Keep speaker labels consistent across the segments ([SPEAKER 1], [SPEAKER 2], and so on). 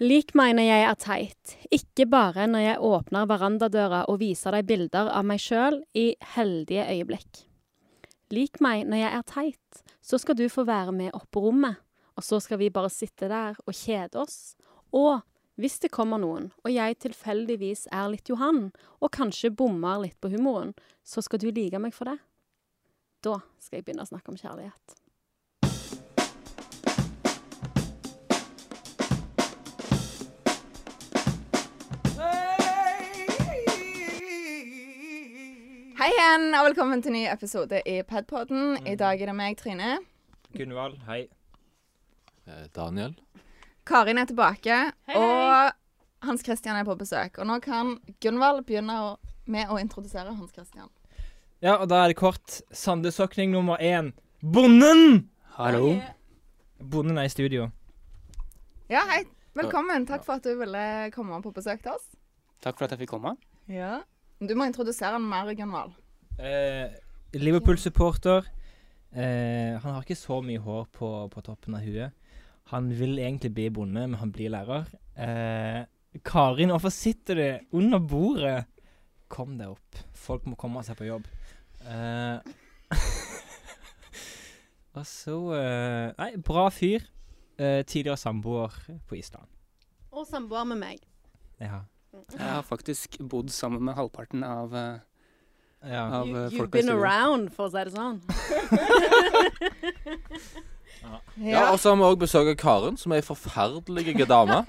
[SPEAKER 1] Lik mener jeg er teit, ikke bare når jeg åpner verandadøra og viser deg bilder av meg sjøl i heldige øyeblikk. Lik meg når jeg er teit, så skal du få være med opp på rommet, og så skal vi bare sitte der og kjede oss. Og hvis det kommer noen, og jeg tilfeldigvis er litt Johan, og kanskje bommer litt på humoren, så skal du like meg for det. Da skal jeg begynne å snakke om kjærlighet.
[SPEAKER 2] Hei igjen, og velkommen til ny episode i Padpodden.
[SPEAKER 3] Mm.
[SPEAKER 2] I dag er det meg, Trine.
[SPEAKER 4] Gunvald, hei.
[SPEAKER 5] Eh, Daniel.
[SPEAKER 2] Karin er tilbake,
[SPEAKER 3] Hei, hei.
[SPEAKER 2] og Hans Christian er på besøk. Og nå kan Gunvald begynne å, med å introdusere Hans Christian.
[SPEAKER 4] Ja, og da er det kort. Sandesokning nummer én. Bonden!
[SPEAKER 5] Hallo.
[SPEAKER 4] Bonden er i studio.
[SPEAKER 2] Ja, hei. Velkommen. Takk for at du ville komme på besøk til oss.
[SPEAKER 3] Takk for at jeg fikk komme.
[SPEAKER 2] Ja. Du må introdusere han mer, Gunvald.
[SPEAKER 4] Eh, Liverpool-supporter. Eh, han har ikke så mye hår på, på toppen av huet. Han vil egentlig bli bonde, men han blir lærer. Eh, Karin, hvorfor sitter du under bordet? Kom deg opp. Folk må komme seg på jobb. Eh, og så eh, Nei, bra fyr. Eh, tidligere samboer på Island.
[SPEAKER 1] Og samboer med meg.
[SPEAKER 4] Ja.
[SPEAKER 3] Jeg har faktisk bodd sammen med halvparten av, eh,
[SPEAKER 4] ja.
[SPEAKER 3] av
[SPEAKER 1] You,
[SPEAKER 3] eh,
[SPEAKER 1] you've
[SPEAKER 3] folka i
[SPEAKER 1] been
[SPEAKER 3] studio.
[SPEAKER 1] around, for å si det sånn.
[SPEAKER 5] Ja, og så har vi òg besøk av Karen, som er ei forferdelig dame.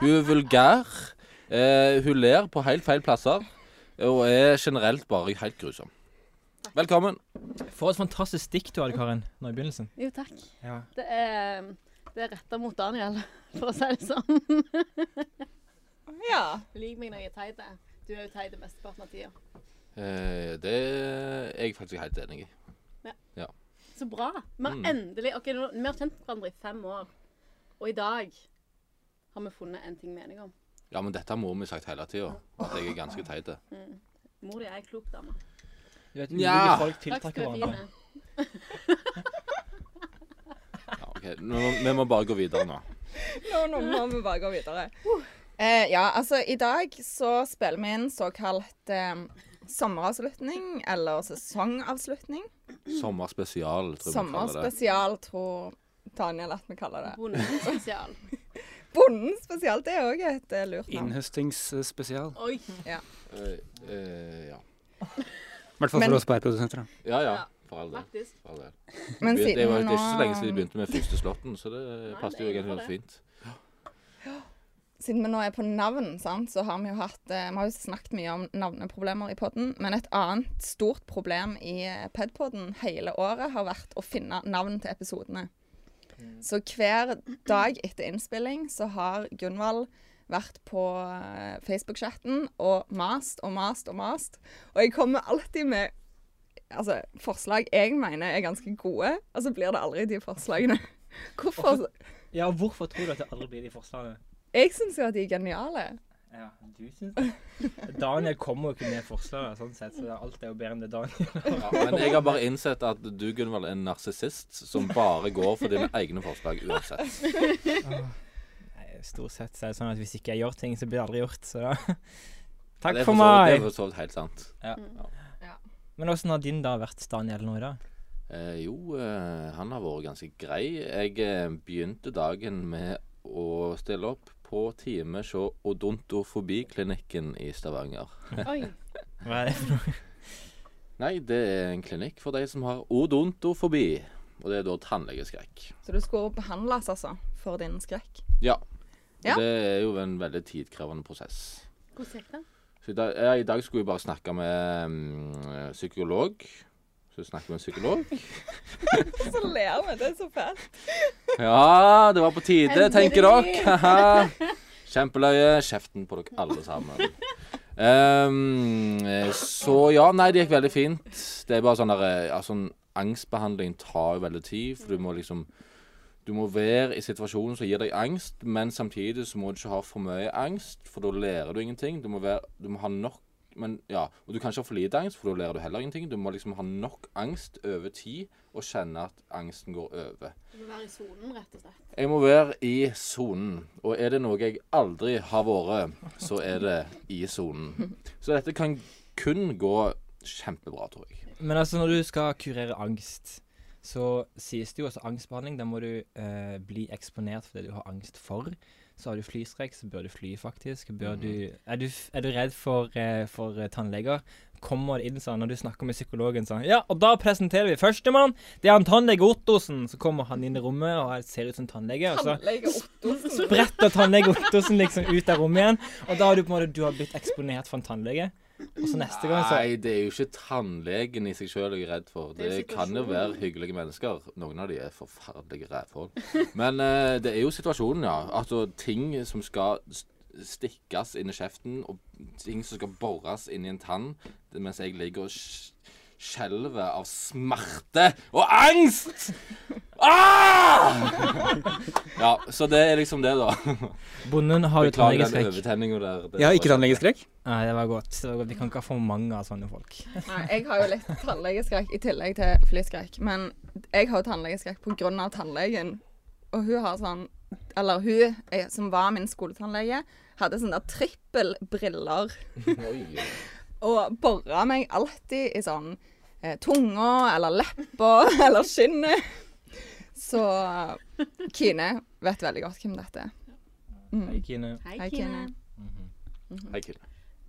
[SPEAKER 5] Hun er vulgær. Eh, hun ler på helt feil plasser. Og er generelt bare helt grusom. Velkommen.
[SPEAKER 4] For et fantastisk stikk du hadde, Karin, nå i begynnelsen.
[SPEAKER 1] Jo, takk.
[SPEAKER 4] Ja.
[SPEAKER 1] Det er, det er retta mot Daniel, for å si det sånn.
[SPEAKER 2] ja.
[SPEAKER 1] Lik meg når jeg er teit. Du er jo teit mesteparten av tida.
[SPEAKER 5] Eh, det er jeg faktisk helt enig i.
[SPEAKER 1] Så bra. Vi har
[SPEAKER 5] Mm.
[SPEAKER 1] endelig Ok, nå, vi har kjent hverandre i fem år. Og i dag har vi funnet en ting vi er enige om.
[SPEAKER 5] Ja, men dette har mor mi sagt hele tida. At jeg er ganske teit.
[SPEAKER 1] Mm. Mor di er ei klok dame.
[SPEAKER 4] Du vet,
[SPEAKER 5] ulike folk
[SPEAKER 1] Takk skal du ha.
[SPEAKER 5] Ja, ok. Nå, vi må bare gå videre nå.
[SPEAKER 2] Nå, nå må vi bare gå videre. Eh, ja, altså i dag så spiller vi inn såkalt eh, sommeravslutning, eller sesongavslutning.
[SPEAKER 5] Sommerspesial, tror jeg vi kaller det.
[SPEAKER 2] Sommerspesial, tror Daniel at vi kaller det.
[SPEAKER 1] Bonden spesial.
[SPEAKER 2] Bonden spesial, det er òg et eh, lurt navn.
[SPEAKER 3] Innhøstingsspesial.
[SPEAKER 1] Oi.
[SPEAKER 5] Eh, eh, ja.
[SPEAKER 3] I hvert fall
[SPEAKER 2] Men-
[SPEAKER 3] for oss PR-produsenter. da.
[SPEAKER 5] ja ja,
[SPEAKER 1] Ja.
[SPEAKER 5] for all del.
[SPEAKER 1] Faktisk.
[SPEAKER 5] For all del.
[SPEAKER 2] Men
[SPEAKER 5] Det, det var jo
[SPEAKER 2] siden
[SPEAKER 5] det er ikke så lenge siden vi
[SPEAKER 2] nå,
[SPEAKER 5] begynte med første slåtten, så det passet jo
[SPEAKER 1] det er
[SPEAKER 5] egentlig
[SPEAKER 1] innenfor
[SPEAKER 5] ganske fint.
[SPEAKER 2] siden vi nå er på navn, sant, så har vi jo hatt eh, Vi har jo snakket mye om navneproblemer i podden, men et annet stort problem i eh, Pedpodden hele året har vært å finne navn til episodene. Så hver dag etter innspilling så har Gunvald vært på eh, Facebook-chatten og mast og mast og mast. Og jeg kommer alltid med altså, forslag jeg mener er ganske gode, og så blir det aldri de forslagene. Hvorfor?
[SPEAKER 4] Ja, og hvorfor tror du at det aldri blir de forslagene?
[SPEAKER 2] Jeg syns jo at de er geniale.
[SPEAKER 4] Ja, du syns det. Daniel kommer jo ikke med forslag, sånn sett, så det er alt er jo bedre enn det Daniel
[SPEAKER 5] Ja, men jeg har bare innsett at du, Gunvald, er en narsissist som bare går for dine egne forslag uansett.
[SPEAKER 4] Nei, Stort sett så er det sånn at hvis ikke jeg gjør ting, så blir det aldri gjort, så Takk
[SPEAKER 5] Det er
[SPEAKER 4] for
[SPEAKER 5] så vidt- Det er
[SPEAKER 4] meg!
[SPEAKER 5] for så vidt helt sant.
[SPEAKER 4] Men åssen har din dag vært, Daniel, nå i dag?
[SPEAKER 5] Eh, jo, eh, han har vært ganske grei. Jeg eh, begynte dagen med å stille opp på time hos Odontofobiklinikken i Stavanger.
[SPEAKER 1] Oi.
[SPEAKER 4] Hva er det for noe?
[SPEAKER 5] Nei, det er en klinikk for de som har odontofobi. Og det er da tannlegeskrekk.
[SPEAKER 2] Så du skulle behandles, altså, for din skrekk.
[SPEAKER 5] Ja. Og
[SPEAKER 2] Ja.
[SPEAKER 5] Det er jo en veldig tidkrevende prosess.
[SPEAKER 1] Hvordan gikk det?
[SPEAKER 5] Så i dag, ja, I dag skulle vi bare snakke med mm, psykolog. Så snakker vi med psykolog.
[SPEAKER 2] Så ler vi, det er så fælt.
[SPEAKER 5] Ja, det var på tide,
[SPEAKER 1] Endelig.
[SPEAKER 5] tenker dere. Haha. Kjempeløye. Kjeften på dere alle sammen. Ehm, så ja, nei, det gikk veldig fint. Det er bare sånn der eh, altså, Angstbehandling tar jo veldig tid, for du må liksom Du må være i situasjonen som gir deg angst, men samtidig så må du ikke ha for mye angst, for da lærer du ingenting. Du må, være, du må ha nok men ja, Og du kan ikke ha for lite angst, for da lærer du heller ingenting. Du må liksom ha nok angst over tid, og kjenne at angsten går over.
[SPEAKER 1] Du må være i sonen, rett og slett.
[SPEAKER 5] Jeg må være i sonen, og er det noe jeg aldri har vært, så er det i sonen. Så dette kan kun gå kjempebra, tror jeg.
[SPEAKER 4] Men altså, når du skal kurere angst, så sies det jo også angstbehandling. Da må du eh, bli eksponert for det du har angst for. Så har du flystrekk, så bør du fly, faktisk.
[SPEAKER 5] Mhm.
[SPEAKER 4] Bør du, er, du, f- er du redd for, eh, for eh, tannleger? Kommer det inn sånn når du snakker med psykologen sånn Ja, og da presenterer vi førstemann! Det er han tannlege Ottosen! Så kommer han inn i rommet og han ser ut som tannlege. Og så
[SPEAKER 2] Tannlege Ottosen.
[SPEAKER 4] bretter tannlege Ottosen liksom ut av rommet igjen. Og da har du på en måte du har blitt eksponert for en tannlege. Og så neste gang så
[SPEAKER 5] Nei, det er jo ikke tannlegen i seg sjøl jeg er redd for.
[SPEAKER 1] Altså- Det er
[SPEAKER 5] Det kan jo
[SPEAKER 1] situasjonen.
[SPEAKER 5] være hyggelige mennesker. Noen av de er forferdelige rævhull. Men eh, det er jo situasjonen, ja. Altså ting som skal s- stikkes inn i kjeften, og ting som skal bores inn i en tann, det- mens jeg ligger og sj- skjelver av smerte og angst! Ah! Ja, så det er liksom det, da.
[SPEAKER 4] Bonden har jo
[SPEAKER 5] Beklager den
[SPEAKER 4] tannlegeskrekk.
[SPEAKER 5] overtenninga der. Det
[SPEAKER 3] Jeg har
[SPEAKER 5] var sånn.
[SPEAKER 3] ikke tannlegeskrekk.
[SPEAKER 4] Nei, det var godt. Det var godt. Vi kan ikke ha for mange av sånne folk.
[SPEAKER 2] Nei, jeg har jo litt tannlegeskrekk i tillegg til flyskrekk. Men jeg har jo tannlegeskrekk pga. tannlegen. Og hun har sånn Eller hun, eh, som var min skoletannlege, hadde sånn der trippel briller
[SPEAKER 5] Oi.
[SPEAKER 2] og bora meg alltid i sånn eh, tunga eller leppa eller skinnet. Så eh, Kine vet veldig godt hvem dette er.
[SPEAKER 4] Hei,
[SPEAKER 2] Mm.
[SPEAKER 4] Kine.
[SPEAKER 2] Hei, Kine.
[SPEAKER 5] Hei, Kille.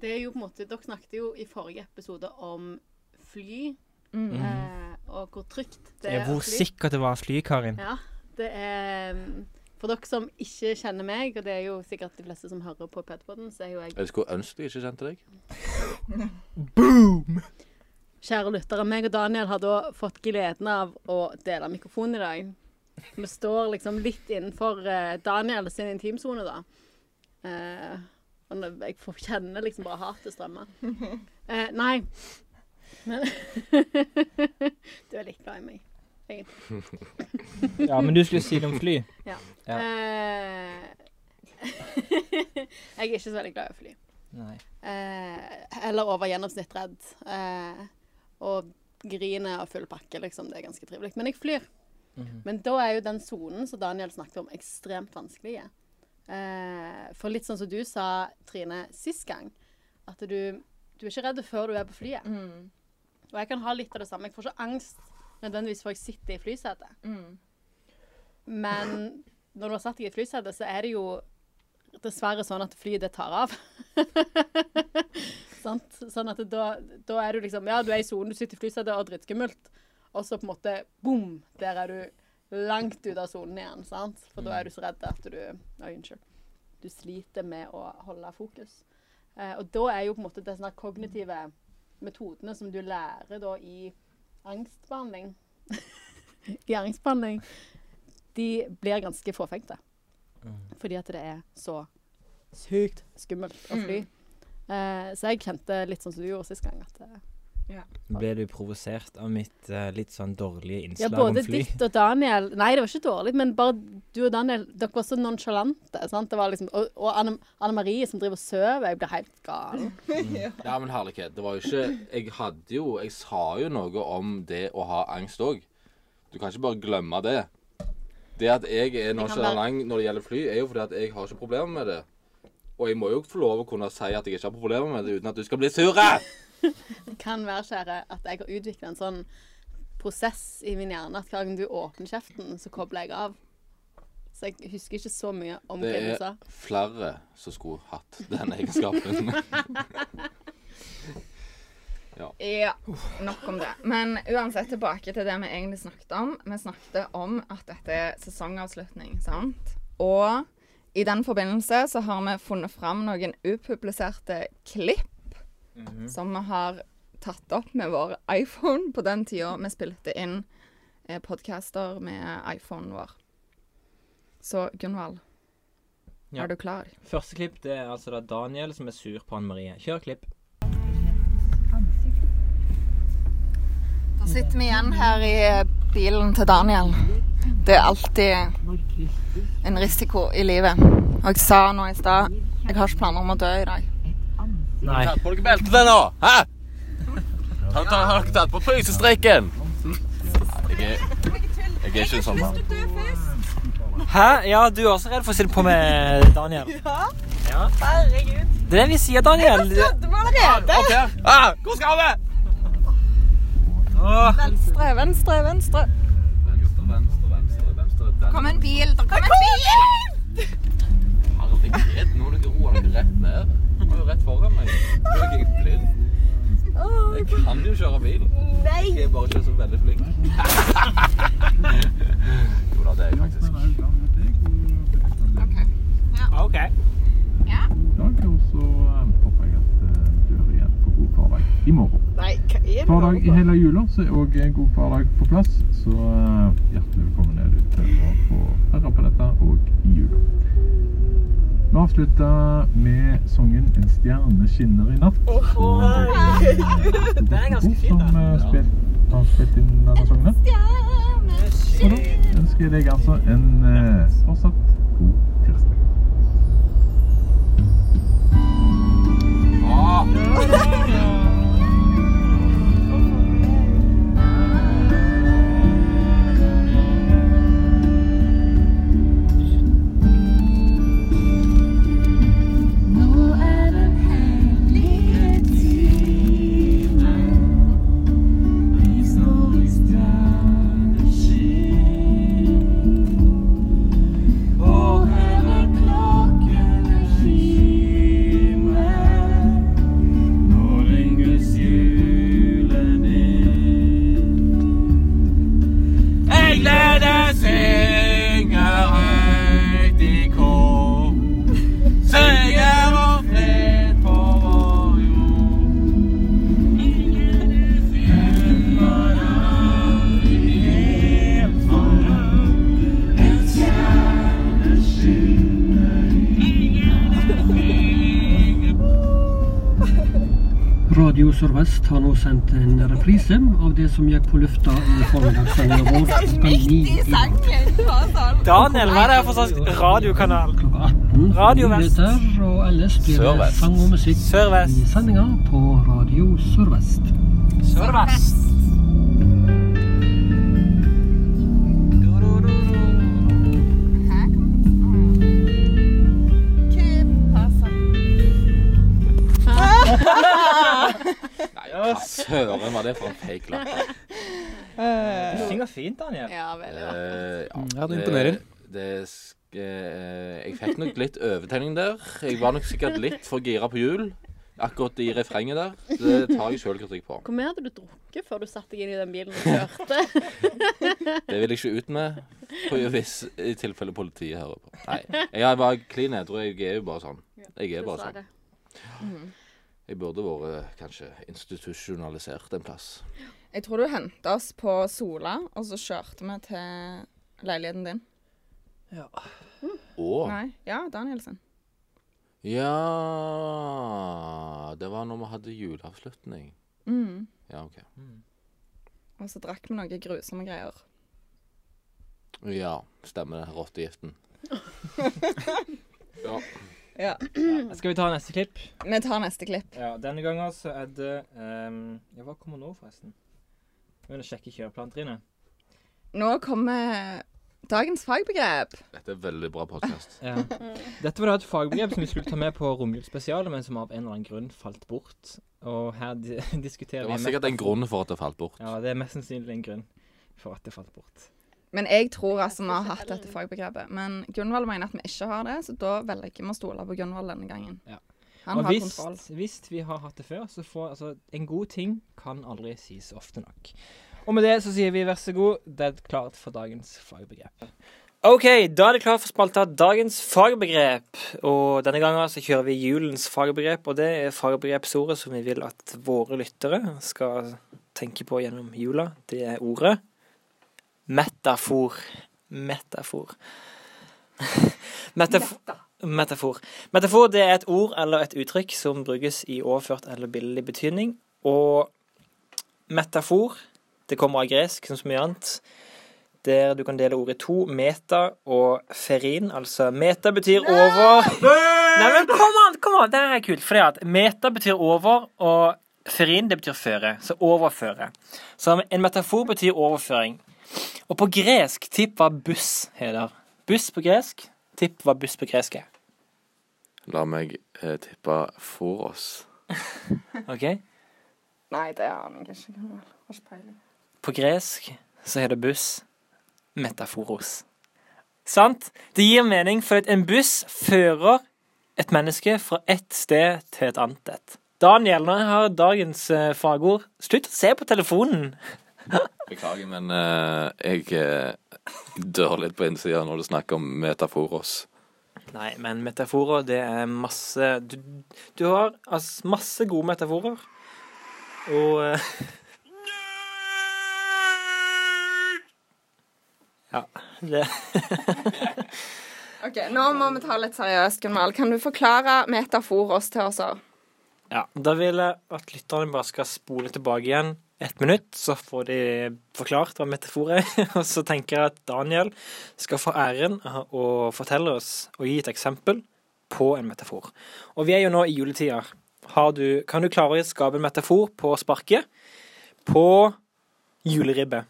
[SPEAKER 1] Det er jo på en måte, Dere snakket jo i forrige episode om fly,
[SPEAKER 2] Mm.
[SPEAKER 1] eh, og hvor trygt det
[SPEAKER 4] Ja,
[SPEAKER 1] er
[SPEAKER 4] hvor
[SPEAKER 1] å fly.
[SPEAKER 4] sikkert det var fly, Karin.
[SPEAKER 1] Ja, det er mm, For dere som ikke kjenner meg, og det er jo sikkert de fleste som hører på Pedpoden, så er jo jeg
[SPEAKER 5] Jeg skulle ønske jeg ikke kjente deg.
[SPEAKER 1] Kjære lyttere, meg og Daniel har da fått gleden av å dele mikrofon i dag. Vi står liksom litt innenfor eh, Daniel sin intimsone, da. Eh, og nå- jeg får kjenne liksom bare hatet strømme. Eh, nei. Men Du er litt glad i meg.
[SPEAKER 4] Ja, men du skulle si det om fly. Ja.
[SPEAKER 1] Eh, jeg er ikke så veldig glad i å fly.
[SPEAKER 4] Nei.
[SPEAKER 1] Eh, eller over gjennomsnitt redd. Eh, og griner og full pakke, liksom. Det er ganske trivelig. Men jeg flyr.
[SPEAKER 4] Mhm.
[SPEAKER 1] Men da er jo den sonen som Daniel snakket om, ekstremt vanskelig. Eh, for litt sånn som du sa, Trine, sist gang, at du, du er ikke redd før du er på flyet.
[SPEAKER 2] Mm.
[SPEAKER 1] Og jeg kan ha litt av det samme. Jeg får ikke angst nødvendigvis for jeg sitter i flysetet.
[SPEAKER 2] Mm.
[SPEAKER 1] Men når du har satt deg i et flysete, så er det jo dessverre sånn at flyet det tar av. Sant? Sånn at da, da er du liksom Ja, du er i sonen, du sitter i flysetet og har dritskummelt. Og så på en måte bom, der er du langt ute av sonen igjen. sant? For da er du så redd at du Oi, unnskyld. Du sliter med å holde fokus. Eh, og da er jo på en måte de sånne kognitive metodene som du lærer da i angstbehandling I angstbehandling de blir ganske fåfengte. Fordi at det er så sykt skummelt å fly. Eh, så jeg kjente litt sånn som du gjorde sist gang. At, eh,
[SPEAKER 4] Ble du provosert av mitt eh, litt sånn dårlige
[SPEAKER 1] ja,
[SPEAKER 4] innslag om
[SPEAKER 1] både
[SPEAKER 4] fly?
[SPEAKER 1] ditt og Daniel Nei, det var ikke dårlig, men bare du og Daniel Dere var så nonchalante. Sant? Det var liksom, og og Anne, Anne Marie som driver og sover. Jeg blir helt gal.
[SPEAKER 5] Ja, men herlighet. Det var jo ikke Jeg hadde jo Jeg sa jo noe om det å ha angst òg. Du kan ikke bare glemme det. Det at jeg er
[SPEAKER 1] kan
[SPEAKER 5] nonchalant når det gjelder fly, er jo fordi at jeg har ikke problemer med det. Og jeg må jo få lov å kunne si at jeg ikke har problemer med det, uten at du skal bli sur!
[SPEAKER 1] Det kan være, kjære, at jeg har utvikla en sånn prosess i min hjerne at hver gang du åpner kjeften, så kobler jeg av. Så jeg husker ikke så mye om
[SPEAKER 5] Det
[SPEAKER 1] hva du sa.
[SPEAKER 5] er flere som skulle hatt den egenskapen.
[SPEAKER 2] Ja, nok om det. Men uansett, tilbake til det vi egentlig snakket om. Vi snakket om at dette er sesongavslutning, sant? Og i den forbindelse så har vi funnet fram noen upubliserte klipp
[SPEAKER 4] Mhm.
[SPEAKER 2] som vi har tatt opp med vår iPhone på den tida vi spilte inn eh, podcaster med iPhonen vår. Så Gunvald,
[SPEAKER 4] Ja.
[SPEAKER 2] er du klar?
[SPEAKER 4] Første klipp det er altså da Daniel som er sur på Anne Marie. Kjør klipp.
[SPEAKER 2] Da sitter vi igjen her i eh, bilen til Daniel. Det er alltid en risiko i livet. Og jeg sa nå i stad jeg har ikke planer om å dø i dag.
[SPEAKER 4] Nei.
[SPEAKER 5] på dere beltene nå! Hæ? Har dere tatt på pysestrekken? Jeg er, jeg er ikke en sånn mann.
[SPEAKER 4] Hæ? Ja, du er også redd for å sitte på med Daniel. Ja.
[SPEAKER 2] Herregud.
[SPEAKER 4] Det er det vi sier, Daniel.
[SPEAKER 2] Det var allerede.
[SPEAKER 5] Opp her! Ah, hvor skal vi?
[SPEAKER 4] Åh,
[SPEAKER 2] Venstre, venstre, venstre.
[SPEAKER 5] Venstre, venstre, venstre, venstre. Den.
[SPEAKER 2] Kom en bil. Det kom en bil!
[SPEAKER 5] Herregud, nå er dere roa dere rett ned. Du er jo rett foran meg. Nå er jeg blind. Jeg kan jo kjøre bil.
[SPEAKER 2] Nei.
[SPEAKER 5] Jeg er bare ikke så veldig flink. jo da, det er jeg faktisk.
[SPEAKER 2] OK.
[SPEAKER 4] OK.
[SPEAKER 2] Ja.
[SPEAKER 6] dag, og så eh, håper jeg at eh, du hører igjen på God hverdag i morgen.
[SPEAKER 2] Nei, hva er det
[SPEAKER 6] Hver dag i hele jula så er òg God hverdag på plass, så eh, hjertelig velkommen er du til å få høre på dette òg i jula. Vi avslutter med sangen 'En stjerne skinner i natt'. Den er ganske fin, da. Som eh, spilt, har spilt inn denne sangen. her. Og da ønsker jeg deg altså en eh, fortsatt god tirsdag.
[SPEAKER 7] Nå er den hellige timen. Vi står i stjerneskinn. Og hever klokkene kimen. Nå ringes julen inn. Ei glede synger høyt i kor. Seier og fred på vår jord. Ingen var aldri helt forlatt. En stjerne skinner i natt.
[SPEAKER 8] Radio Sør-Vest har nå sendt en reprise av det som gikk på lufta i formiddagssendinga vår klokka ni i dag.
[SPEAKER 2] sånn.
[SPEAKER 4] Daniel, hva er det her for slags radiokanal?
[SPEAKER 8] Klokka 18
[SPEAKER 4] Radio Vest.
[SPEAKER 8] nyheter, og ellers blir det
[SPEAKER 5] Sør-Vest.
[SPEAKER 8] sang og musikk
[SPEAKER 4] Sør-Vest.
[SPEAKER 8] i sendinga på Radio Sør-Vest.
[SPEAKER 4] Sørvest.
[SPEAKER 5] Søren, var det for en fake lapp?
[SPEAKER 4] Du synger fint, Daniel.
[SPEAKER 2] Ja, vel, ja.
[SPEAKER 5] Eh,
[SPEAKER 3] Ja, det imponerer.
[SPEAKER 5] Det, det sk- eh, jeg fikk nok litt overtenning der. Jeg var nok sikkert litt for gira på jul. Akkurat i refrenget der. Det tar jeg sjølkritikk på.
[SPEAKER 1] Hvor mye hadde du drukket før du satte deg inn i den bilen og kjørte?
[SPEAKER 5] Det vil jeg ikke ut med på hvis i tilfelle politiet hører på. Nei. Jeg var klin edru. Jeg er jo bare sånn. Jeg er bare sånn.
[SPEAKER 1] Dessverre.
[SPEAKER 5] Jeg burde vært eh, kanskje institusjonalisert en plass.
[SPEAKER 2] Jeg tror du henta oss på Sola, og så kjørte vi til leiligheten din.
[SPEAKER 5] Å!
[SPEAKER 2] Nei. Ja, Danielsen.
[SPEAKER 5] Ja Det var når vi hadde juleavslutning.
[SPEAKER 2] Mm.
[SPEAKER 5] Ja, OK.
[SPEAKER 2] Og så drakk vi noe grusomme greier.
[SPEAKER 5] Ja, stemmer det. Rottegiften. ja.
[SPEAKER 2] Ja.
[SPEAKER 4] Skal vi ta neste klipp?
[SPEAKER 2] Vi tar neste klipp.
[SPEAKER 4] Ja, denne gangen så er det ehm, Ja, hva kommer nå, forresten? Vi må sjekke kjøreplanen, Trine.
[SPEAKER 2] Nå kommer dagens fagbegrep.
[SPEAKER 5] Dette er veldig bra podkast.
[SPEAKER 4] Ja. Dette var da et fagbegrep som vi skulle ta med på romjulsspesialet, men som av en eller annen grunn falt bort. Og her di diskuterer
[SPEAKER 5] Det
[SPEAKER 4] vi
[SPEAKER 5] var sikkert en grunn for at det falt bort.
[SPEAKER 4] Ja, det er mest sannsynlig en grunn for at det falt bort.
[SPEAKER 2] Men jeg tror altså vi har hatt dette fagbegrepet. Men Gunvald mener at vi ikke har det, så da velger vi å stole på Gunvald denne gangen.
[SPEAKER 4] Ja.
[SPEAKER 2] Han
[SPEAKER 4] og
[SPEAKER 2] har
[SPEAKER 4] hvis,
[SPEAKER 2] kontroll.
[SPEAKER 4] hvis vi har hatt det før, så får altså En god ting kan aldri sies ofte nok. Og med det så sier vi vær så god, det er klart for dagens fagbegrep.
[SPEAKER 9] OK, da er det klart for spalta Dagens fagbegrep. Og denne gangen så kjører vi julens fagbegrep, og det er fagbegrepsordet som vi vil at våre lyttere skal tenke på gjennom jula. Det er ordet metafor. Metafor. Metaf metafor. Metafor det er et ord eller et uttrykk som brukes i overført eller billig betydning. Og metafor det kommer av gresk, som så mye annet der du kan dele ordet to, meta og ferin. Altså meta betyr over Nei, men kom an, kom an, det her er kult. Fordi at meta betyr over, og ferin det betyr føre. Så overføre. Så en metafor betyr overføring.
[SPEAKER 4] Og på gresk, tipp hva buss heter. Buss på gresk, tipp hva buss på gresk er.
[SPEAKER 5] La meg eh, tippe for oss.
[SPEAKER 4] Ok?
[SPEAKER 2] Nei, det aner jeg ikke. Har ikke peiling.
[SPEAKER 4] På gresk så heter buss metaforos. Sant? Det gir mening, for at en buss fører et menneske fra ett sted til et annet. et. Daniel, nå har dagens eh, fagord. Slutt å se på telefonen!
[SPEAKER 5] Beklager, men eh, jeg eh, dør litt på innsida når du snakker om metaforos.
[SPEAKER 4] Nei, men metaforer, det er masse Du, du har altså, masse gode metaforer. Og eh, Ja. Det
[SPEAKER 2] Ok, Nå må vi ta litt seriøst, Gunvald. Kan du forklare metaforos til oss? også?
[SPEAKER 4] Ja, da vil jeg at lytterne bare skal spole tilbake igjen ett minutt, så får de forklart hva metafor er. Og så tenker jeg at Daniel skal få æren av å fortelle oss og gi et eksempel på en metafor. Og vi er jo nå i juletida. Har du, kan du klare å skape en metafor på sparket? På juleribbe.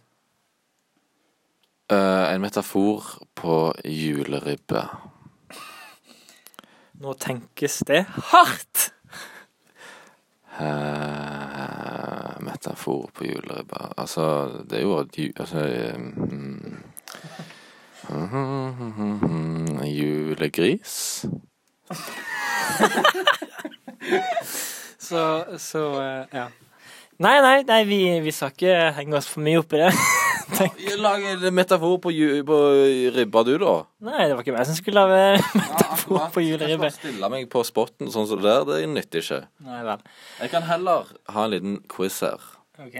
[SPEAKER 5] Eh, en metafor på juleribbe.
[SPEAKER 4] Nå tenkes det hardt!
[SPEAKER 5] Eh, metafor på juleribbe Altså, det er jo et ju... Altså mm, Julegris?
[SPEAKER 4] Så, så eh, ja. Nei, nei, nei vi, vi skal ikke henge oss for mye opp i det.
[SPEAKER 5] Lag en metafor på, ju på ribba, du, da.
[SPEAKER 4] Nei, det var ikke meg som skulle lage metafor på juleribbe.
[SPEAKER 5] Stille meg på spotten sånn som det der, det nytter ikke.
[SPEAKER 4] Nei vel.
[SPEAKER 5] Jeg kan heller ha en liten quiz her.
[SPEAKER 4] Ok.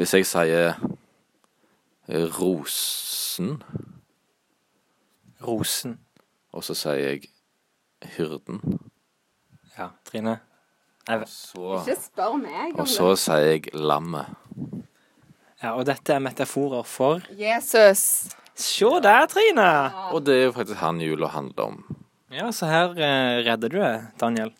[SPEAKER 5] Hvis jeg sier rosen,
[SPEAKER 4] Rosen.
[SPEAKER 5] og så sier jeg hyrden,
[SPEAKER 4] Ja, Trine.
[SPEAKER 5] så,
[SPEAKER 2] Ikke spør meg om
[SPEAKER 5] og så sier jeg lammet.
[SPEAKER 4] Ja, Og dette er metaforer for
[SPEAKER 2] det. Jesus.
[SPEAKER 4] Se der, Trine!
[SPEAKER 5] Og det er jo faktisk han jula handler om.
[SPEAKER 4] Ja, så her eh, redder du det, Daniel.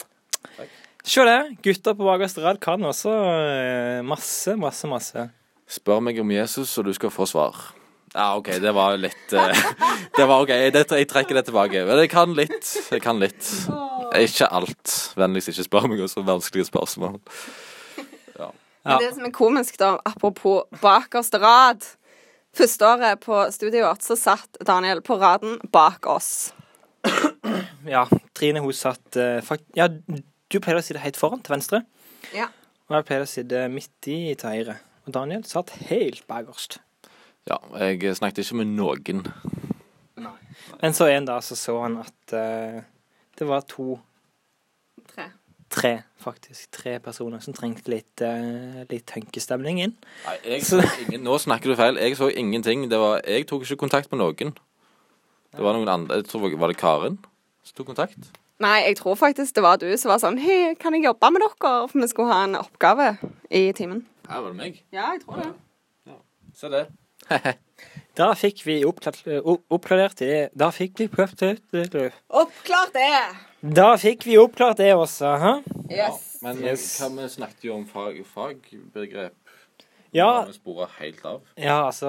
[SPEAKER 4] Se der. Gutter på bakerste rad kan også eh, masse, masse, masse.
[SPEAKER 5] Spør meg om Jesus, og du skal få svar. Ja, OK, det var jo litt eh, Det var OK, det, jeg trekker det tilbake. Men jeg kan litt. Jeg kan litt. Ikke alt. Vennligst ikke spør meg om så vanskelige spørsmål.
[SPEAKER 4] Ja.
[SPEAKER 2] Men det som er komisk, da, apropos bakerste rad Første året på studiet vårt så satt Daniel på raden bak oss.
[SPEAKER 4] Ja, Trine hun satt eh, fakt... Ja, du pleier å sitte helt foran til venstre.
[SPEAKER 2] Ja.
[SPEAKER 4] Og jeg pleier å sitte midt i til høyre. Og Daniel satt helt bakerst.
[SPEAKER 5] Ja, jeg snakket ikke med noen.
[SPEAKER 4] Men så en dag så så han at eh, det var to
[SPEAKER 2] Tre.
[SPEAKER 4] tre, faktisk. Tre personer som trengte litt, eh, litt tenkestemning inn.
[SPEAKER 5] Nei, jeg så ingen, nå snakker du feil. Jeg så ingenting. Det var, jeg tok ikke kontakt med noen. Det var noen andre jeg tror, Var det Karin som tok kontakt?
[SPEAKER 2] Nei, jeg tror faktisk det var du som var sånn Hei, kan jeg jobbe med dere? For vi skulle ha en oppgave i timen.
[SPEAKER 5] Her var det meg.
[SPEAKER 2] Ja, jeg tror det.
[SPEAKER 5] Se det.
[SPEAKER 4] Da fikk vi oppklart- eh, o- oppklarert det. Da fikk vi prøvd det.
[SPEAKER 2] Oppklart det!
[SPEAKER 4] Da fikk vi oppklart det også, hæ?
[SPEAKER 2] Yes.
[SPEAKER 5] Men eh,
[SPEAKER 4] Yes.
[SPEAKER 5] hva vi snakket jo om fag, fagbegrep.
[SPEAKER 4] Ja,
[SPEAKER 5] Vi spora helt av.
[SPEAKER 4] ja, altså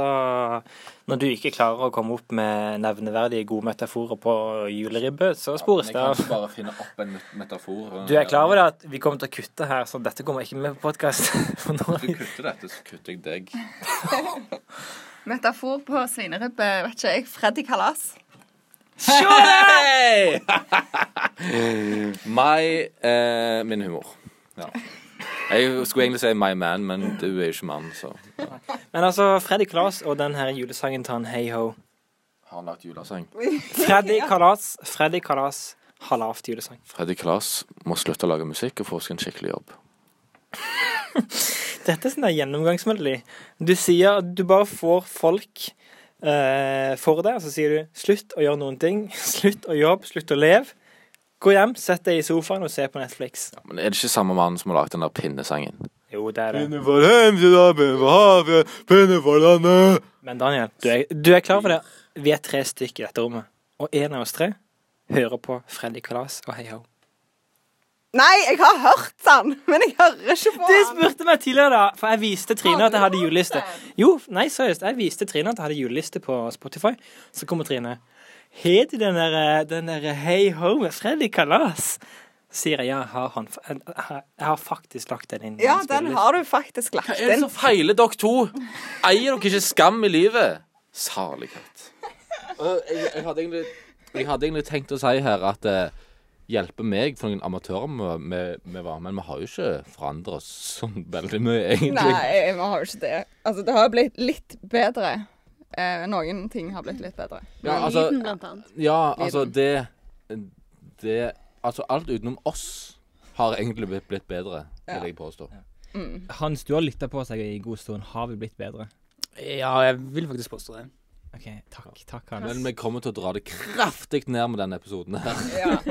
[SPEAKER 4] Når du ikke klarer å komme opp med nevneverdige gode metaforer på juleribbe, så spores
[SPEAKER 5] Vi
[SPEAKER 4] det
[SPEAKER 5] kan
[SPEAKER 4] av.
[SPEAKER 5] ikke bare finne opp en met- metafor. eh,
[SPEAKER 4] Du er klar over det at vi kommer til å kutte her, så dette kommer ikke med på podkast.
[SPEAKER 5] Du kutter dette, så kutter jeg deg.
[SPEAKER 2] Metafor på svineribbe, vet ikke jeg. Freddy Kalas.
[SPEAKER 5] My eh, Min humor. Ja. Jeg skulle egentlig si my man, men du er jo ikke mann, så
[SPEAKER 4] Men altså, Freddy Kalas og den her julesangen til han Hey Ho.
[SPEAKER 5] Har han lagt julesang?
[SPEAKER 4] Freddy Kalas, Freddy Kalas har lavt julesang.
[SPEAKER 5] Freddy Klas må slutte å lage musikk og få seg en skikkelig jobb.
[SPEAKER 4] Dette er sånn der gjennomgangsmelodi. Du sier at du bare får folk eh, for deg, og så sier du 'slutt å gjøre noen ting', 'slutt å jobbe', 'slutt å leve'. Gå hjem, sett deg i sofaen og se på Netflix.
[SPEAKER 5] Ja, men er det ikke samme mannen som har lagd den der pinnesangen?
[SPEAKER 4] Jo, det er det.
[SPEAKER 5] for heimsida, pinne for havet, pinne for landet.
[SPEAKER 4] Men Daniel, du er, du er klar over det? Vi er tre stykker i dette rommet, og en av oss tre hører på Freddy Kalas og Hei Ho.
[SPEAKER 10] Nei, jeg har hørt den, men jeg hører ikke på
[SPEAKER 9] Du
[SPEAKER 10] den.
[SPEAKER 9] spurte meg tidligere, da, for jeg viste Trine at jeg hadde juleliste. Jo, nei, seriøst. Jeg viste Trine at jeg hadde juleliste på Spotify. Så kommer Trine. Har du den der, eh, den der Hey Ho med Freddy Kalas? Så sier jeg ja, jeg har han, eh, jeg har faktisk lagt den inn. i
[SPEAKER 10] Ja,
[SPEAKER 9] min
[SPEAKER 10] den
[SPEAKER 9] spilleliste.
[SPEAKER 10] har du faktisk lagt
[SPEAKER 5] Hva er det
[SPEAKER 10] inn.
[SPEAKER 5] som feiler dere to? Eier dere ikke skam i livet? Salighet. Øh, Jeg, jeg, hadde egentlig, jeg hadde egentlig tenkt å si her at eh, hjelpe meg for noen amatører vi- vi vi var, men vi har jo ikke forandret oss sånn veldig mye, egentlig.
[SPEAKER 2] Nei, vi har jo ikke det. Altså, det har blitt litt bedre. Eh, noen ting har blitt litt bedre.
[SPEAKER 5] Ja, altså,
[SPEAKER 1] Lyden, blant annet.
[SPEAKER 5] ja, altså det, det Altså alt utenom oss har egentlig blitt- blitt bedre, vil jeg påstå.
[SPEAKER 2] Mm.
[SPEAKER 4] Hans, du har lytta på seg i god stund. Har vi blitt bedre?
[SPEAKER 3] Ja, jeg vil faktisk påstå det.
[SPEAKER 4] OK, takk. Takk, Hans.
[SPEAKER 5] Men vi kommer til å dra det kraftig ned med denne episoden her.
[SPEAKER 2] Ja.
[SPEAKER 3] Og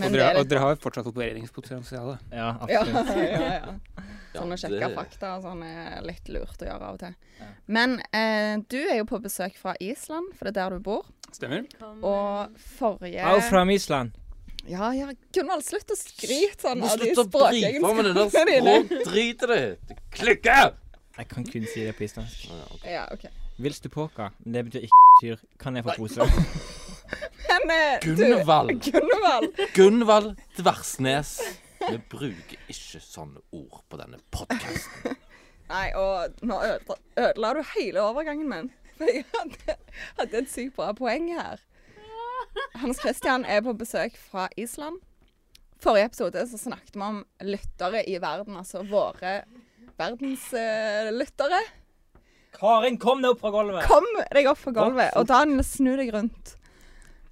[SPEAKER 2] Men det
[SPEAKER 3] dere,
[SPEAKER 2] er
[SPEAKER 3] og
[SPEAKER 2] litt
[SPEAKER 3] dere har fortsatt forbedringspotensial. da.
[SPEAKER 4] Ja,
[SPEAKER 2] ja,
[SPEAKER 4] absolutt.
[SPEAKER 2] ja, ja. Sånn å
[SPEAKER 5] Ja,
[SPEAKER 2] sjekke
[SPEAKER 5] det-
[SPEAKER 2] fakta og sånn er litt lurt å gjøre av og til. Men eh, du er jo på besøk fra Island, for det er der du bor.
[SPEAKER 3] Stemmer?
[SPEAKER 2] Og
[SPEAKER 4] Au
[SPEAKER 2] forrige
[SPEAKER 4] fra Island.
[SPEAKER 2] Ja, ja, Gunvald, slutt å skryte sånn
[SPEAKER 5] Må
[SPEAKER 2] av de
[SPEAKER 5] slutte å drive med det der
[SPEAKER 2] språkegenskapene dine.
[SPEAKER 5] språkdritet ditt! Klikke!
[SPEAKER 4] Jeg kan kun si det på islandsk.
[SPEAKER 2] Ja, ok.
[SPEAKER 4] Vils du poka? Men det betyr ikke tyr. Kan jeg få pose?
[SPEAKER 2] Men eh, du,
[SPEAKER 5] Gunvald.
[SPEAKER 2] Gunvald
[SPEAKER 5] Gunvald Dversnes. Vi bruker ikke sånne ord på denne podkasten.
[SPEAKER 2] Nei, og nå ødela, ødela du hele overgangen min. For jeg hadde, hadde et sykt bra poeng her. Hans Christian er på besøk fra Island. Forrige episode så snakket vi om lyttere i verden, altså våre verdenslyttere.
[SPEAKER 4] Karin, kom deg opp fra gulvet!
[SPEAKER 2] Kom deg opp på gulvet, og Daniel, snu deg rundt.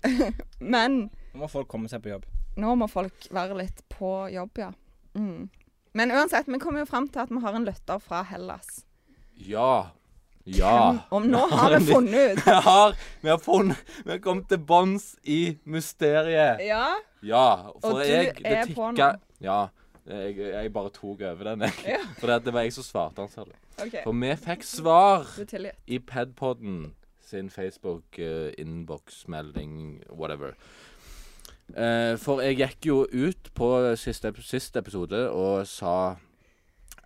[SPEAKER 2] Men
[SPEAKER 4] Nå må folk komme seg på jobb.
[SPEAKER 2] nå må folk være litt på jobb, ja. Mm. Men uansett, vi kommer jo fram til at vi har en lytter fra Hellas.
[SPEAKER 5] Ja. Ja.
[SPEAKER 2] Om nå har vi funnet ut
[SPEAKER 5] Vi har, vi har funnet Vi har kommet til bånns i mysteriet.
[SPEAKER 2] Ja.
[SPEAKER 5] Ja.
[SPEAKER 2] Og
[SPEAKER 5] For
[SPEAKER 2] du
[SPEAKER 5] jeg
[SPEAKER 2] er
[SPEAKER 5] Det
[SPEAKER 2] på
[SPEAKER 5] tikka
[SPEAKER 2] nå.
[SPEAKER 5] Ja. Jeg, jeg bare tok over den, jeg.
[SPEAKER 2] Ja.
[SPEAKER 5] For det, det var jeg som svarte han, ser du.
[SPEAKER 2] OK.
[SPEAKER 5] For vi fikk svar
[SPEAKER 2] Du er tilgitt.
[SPEAKER 5] i Padpodden sin Facebook-innboksmelding, whatever. Eh, for jeg gikk jo ut på siste, ep siste episode og sa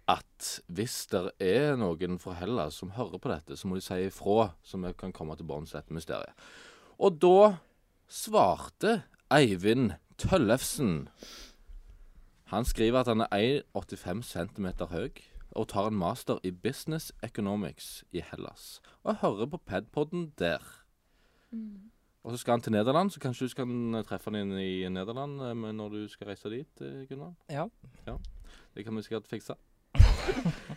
[SPEAKER 5] at hvis det er noen fra Hellas som hører på dette, så må de si ifra, så vi kan komme til bunns i dette mysteriet. Og da svarte Eivind Tøllefsen. Han skriver at han er 1,85 cm høy og tar en master i business economics i Hellas. Og jeg hører på Padpodden der. Og så skal han til Nederland, så kanskje du skal treffe han inn i Nederland eh, men når du skal reise dit, eh, Gunnar?
[SPEAKER 4] Ja.
[SPEAKER 5] ja. Det kan vi sikkert fikse.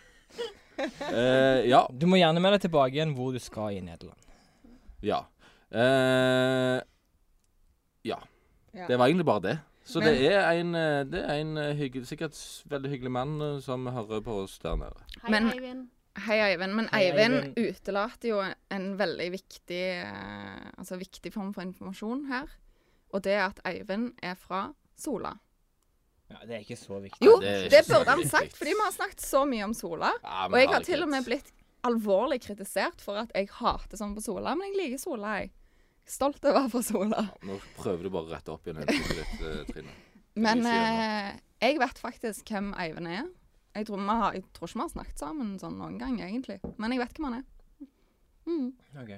[SPEAKER 5] eh, ja.
[SPEAKER 4] Du må gjerne melde tilbake igjen hvor du skal i Nederland.
[SPEAKER 5] Ja. Eh, ja.
[SPEAKER 2] Ja.
[SPEAKER 5] Det var egentlig bare det. Så
[SPEAKER 2] Men-
[SPEAKER 5] det er en, eh, det er en eh, hygge, sikkert s- veldig hyggelig mann eh, som hører på oss der nede.
[SPEAKER 1] Hei,
[SPEAKER 2] Men-
[SPEAKER 1] Eivind.
[SPEAKER 2] Hei, Eivind. Men
[SPEAKER 4] Hei,
[SPEAKER 2] Eivind,
[SPEAKER 4] Eivind.
[SPEAKER 2] utelater jo en veldig viktig, eh, altså viktig form for informasjon her. Og det er at Eivind er fra Sola.
[SPEAKER 4] Ja, Det er ikke så viktig.
[SPEAKER 2] Jo,
[SPEAKER 5] det er ikke
[SPEAKER 2] det
[SPEAKER 5] så
[SPEAKER 2] burde han
[SPEAKER 5] viktig.
[SPEAKER 2] sagt, fordi vi har snakket så mye om Sola.
[SPEAKER 5] Ja, men
[SPEAKER 2] Og jeg har
[SPEAKER 5] herregud.
[SPEAKER 2] til og med blitt alvorlig kritisert for at jeg hater sånn på Sola, men jeg liker Sola, jeg. Stolt over å være fra Sola.
[SPEAKER 5] Nå prøver du bare å rette opp igjen øynene ditt, eh, Trine.
[SPEAKER 2] Men
[SPEAKER 5] Lyser
[SPEAKER 2] eh, jeg vet faktisk hvem Eivind er. Jeg tror, vi har, jeg tror ikke vi har snakket sammen sånn noen gang, egentlig. Men jeg vet hvem han er. Mm.
[SPEAKER 4] Ok.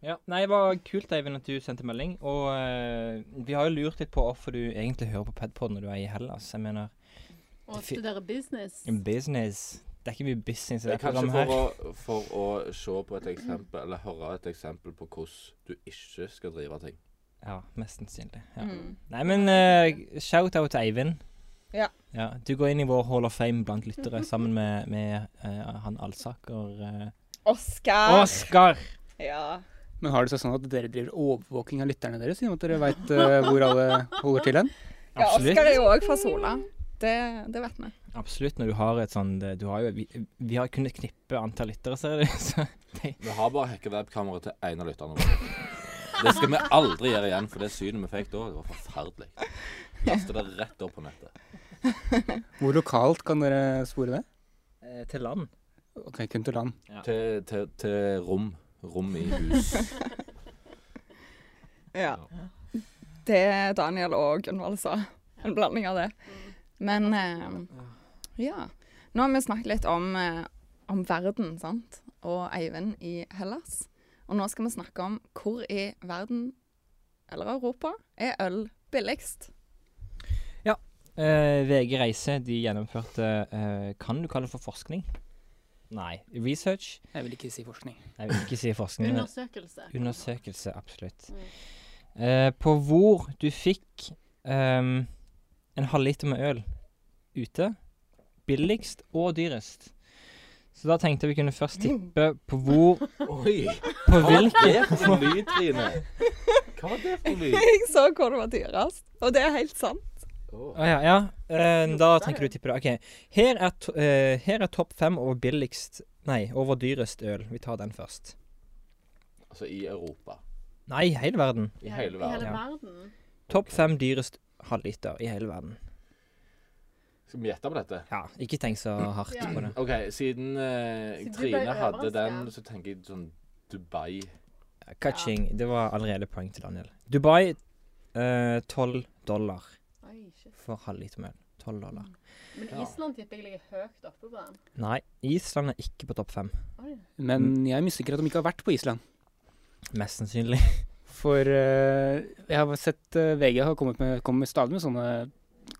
[SPEAKER 4] Ja, Nei, det var kult, Eivind, at du sendte melding. Og eh, vi har jo lurt litt på hvorfor du egentlig hører på Padpod når du er i Hellas. Jeg mener,
[SPEAKER 1] Og studerer business.
[SPEAKER 4] business Det er ikke mye business i
[SPEAKER 5] Det er
[SPEAKER 4] det
[SPEAKER 5] kanskje
[SPEAKER 4] programmet
[SPEAKER 5] for
[SPEAKER 4] her.
[SPEAKER 5] å, for å se på et eksempel, eller høre et eksempel på hvordan du ikke skal drive ting.
[SPEAKER 4] Ja, mest sannsynlig. Ja.
[SPEAKER 2] Mm.
[SPEAKER 4] Nei, men eh, shout-out til Eivind.
[SPEAKER 2] Ja.
[SPEAKER 4] Du går inn i vår Hall of Fame blant lyttere sammen med, med eh, han Alsaker eh,
[SPEAKER 2] Oskar!
[SPEAKER 4] Oskar!
[SPEAKER 2] Ja.
[SPEAKER 3] Men har det seg sånn at dere driver overvåking av lytterne deres? Siden at dere veit hvor alle holder til hen?
[SPEAKER 2] ja
[SPEAKER 4] Absolutt.
[SPEAKER 2] Oskar er jo òg fra Sola. Det, det vet vi.
[SPEAKER 4] Absolutt. Når du har et sånn Du har jo Vi, vi har kunnet knippe antall lyttere, ser du. Så
[SPEAKER 5] Vi har bare hacka webkameraet til en av lytterne våre. Det skal vi aldri gjøre igjen, for det synet vi fikk da, det var forferdelig. Kaste det rett opp på nettet.
[SPEAKER 3] Hvor lokalt kan dere spore det?
[SPEAKER 4] eh, til land.
[SPEAKER 3] Ok, kun til land.
[SPEAKER 5] Til, til, til rom. Rom i hus.
[SPEAKER 2] Ja. Det Daniel og Gunvald sa. En blanding av det. Men eh, ja. Nå har vi snakket litt om, eh, om verden, sant? Og Eivind i Hellas. Og nå skal vi snakke om hvor i verden, eller Europa, er øl billigst.
[SPEAKER 4] Eh, VG Reise de gjennomførte eh, Kan du kalle det for forskning? Nei. Research?
[SPEAKER 3] Jeg vil ikke si forskning.
[SPEAKER 4] Jeg vil ikke si forskning. men-
[SPEAKER 1] Undersøkelse.
[SPEAKER 4] Undersøkelse, absolutt.
[SPEAKER 1] Mm.
[SPEAKER 4] Eh, på hvor du fikk ehm, en halvliter med øl ute, billigst og dyrest. Så da tenkte jeg vi kunne først tippe på hvor
[SPEAKER 5] Oi!
[SPEAKER 4] På
[SPEAKER 5] Hva var
[SPEAKER 4] hvilke
[SPEAKER 5] det for en lyd, Trine? Hva var det for en lyd?
[SPEAKER 2] Jeg så hvor det var dyrest, og det er helt sant.
[SPEAKER 5] Åh.
[SPEAKER 4] Å ja, ja. Eh, da tenker du tipper det. OK. Her er, to eh, her er topp fem over billigst Nei, over dyrest øl. Vi tar den først.
[SPEAKER 5] Altså i Europa.
[SPEAKER 4] Nei, hele verden.
[SPEAKER 5] I hele verden.
[SPEAKER 4] Ja.
[SPEAKER 1] verden.
[SPEAKER 4] Topp fem dyrest halvliter i hele verden.
[SPEAKER 5] Skal vi gjette på dette?
[SPEAKER 4] Ja, ikke tenk så hardt
[SPEAKER 1] Ja.
[SPEAKER 4] på det.
[SPEAKER 5] OK, siden eh,
[SPEAKER 1] Siden du ble
[SPEAKER 5] Trine hadde
[SPEAKER 1] overrasket.
[SPEAKER 5] den, så tenker jeg sånn Dubai.
[SPEAKER 4] Catching. Det var allerede poeng til Daniel. Dubai eh, tolv dollar
[SPEAKER 1] Oi, shit.
[SPEAKER 4] for halvliter mel. 12 dollar.
[SPEAKER 1] Men
[SPEAKER 5] Ja.
[SPEAKER 1] Island tipper jeg ligger høyt oppe på den.
[SPEAKER 4] Nei, Island er ikke på topp fem.
[SPEAKER 1] Oi.
[SPEAKER 3] Men jeg mistenker at de ikke har vært på Island.
[SPEAKER 4] Mest sannsynlig.
[SPEAKER 3] For eh, jeg har sett eh, VG har kommet med, kommer stadig med sånne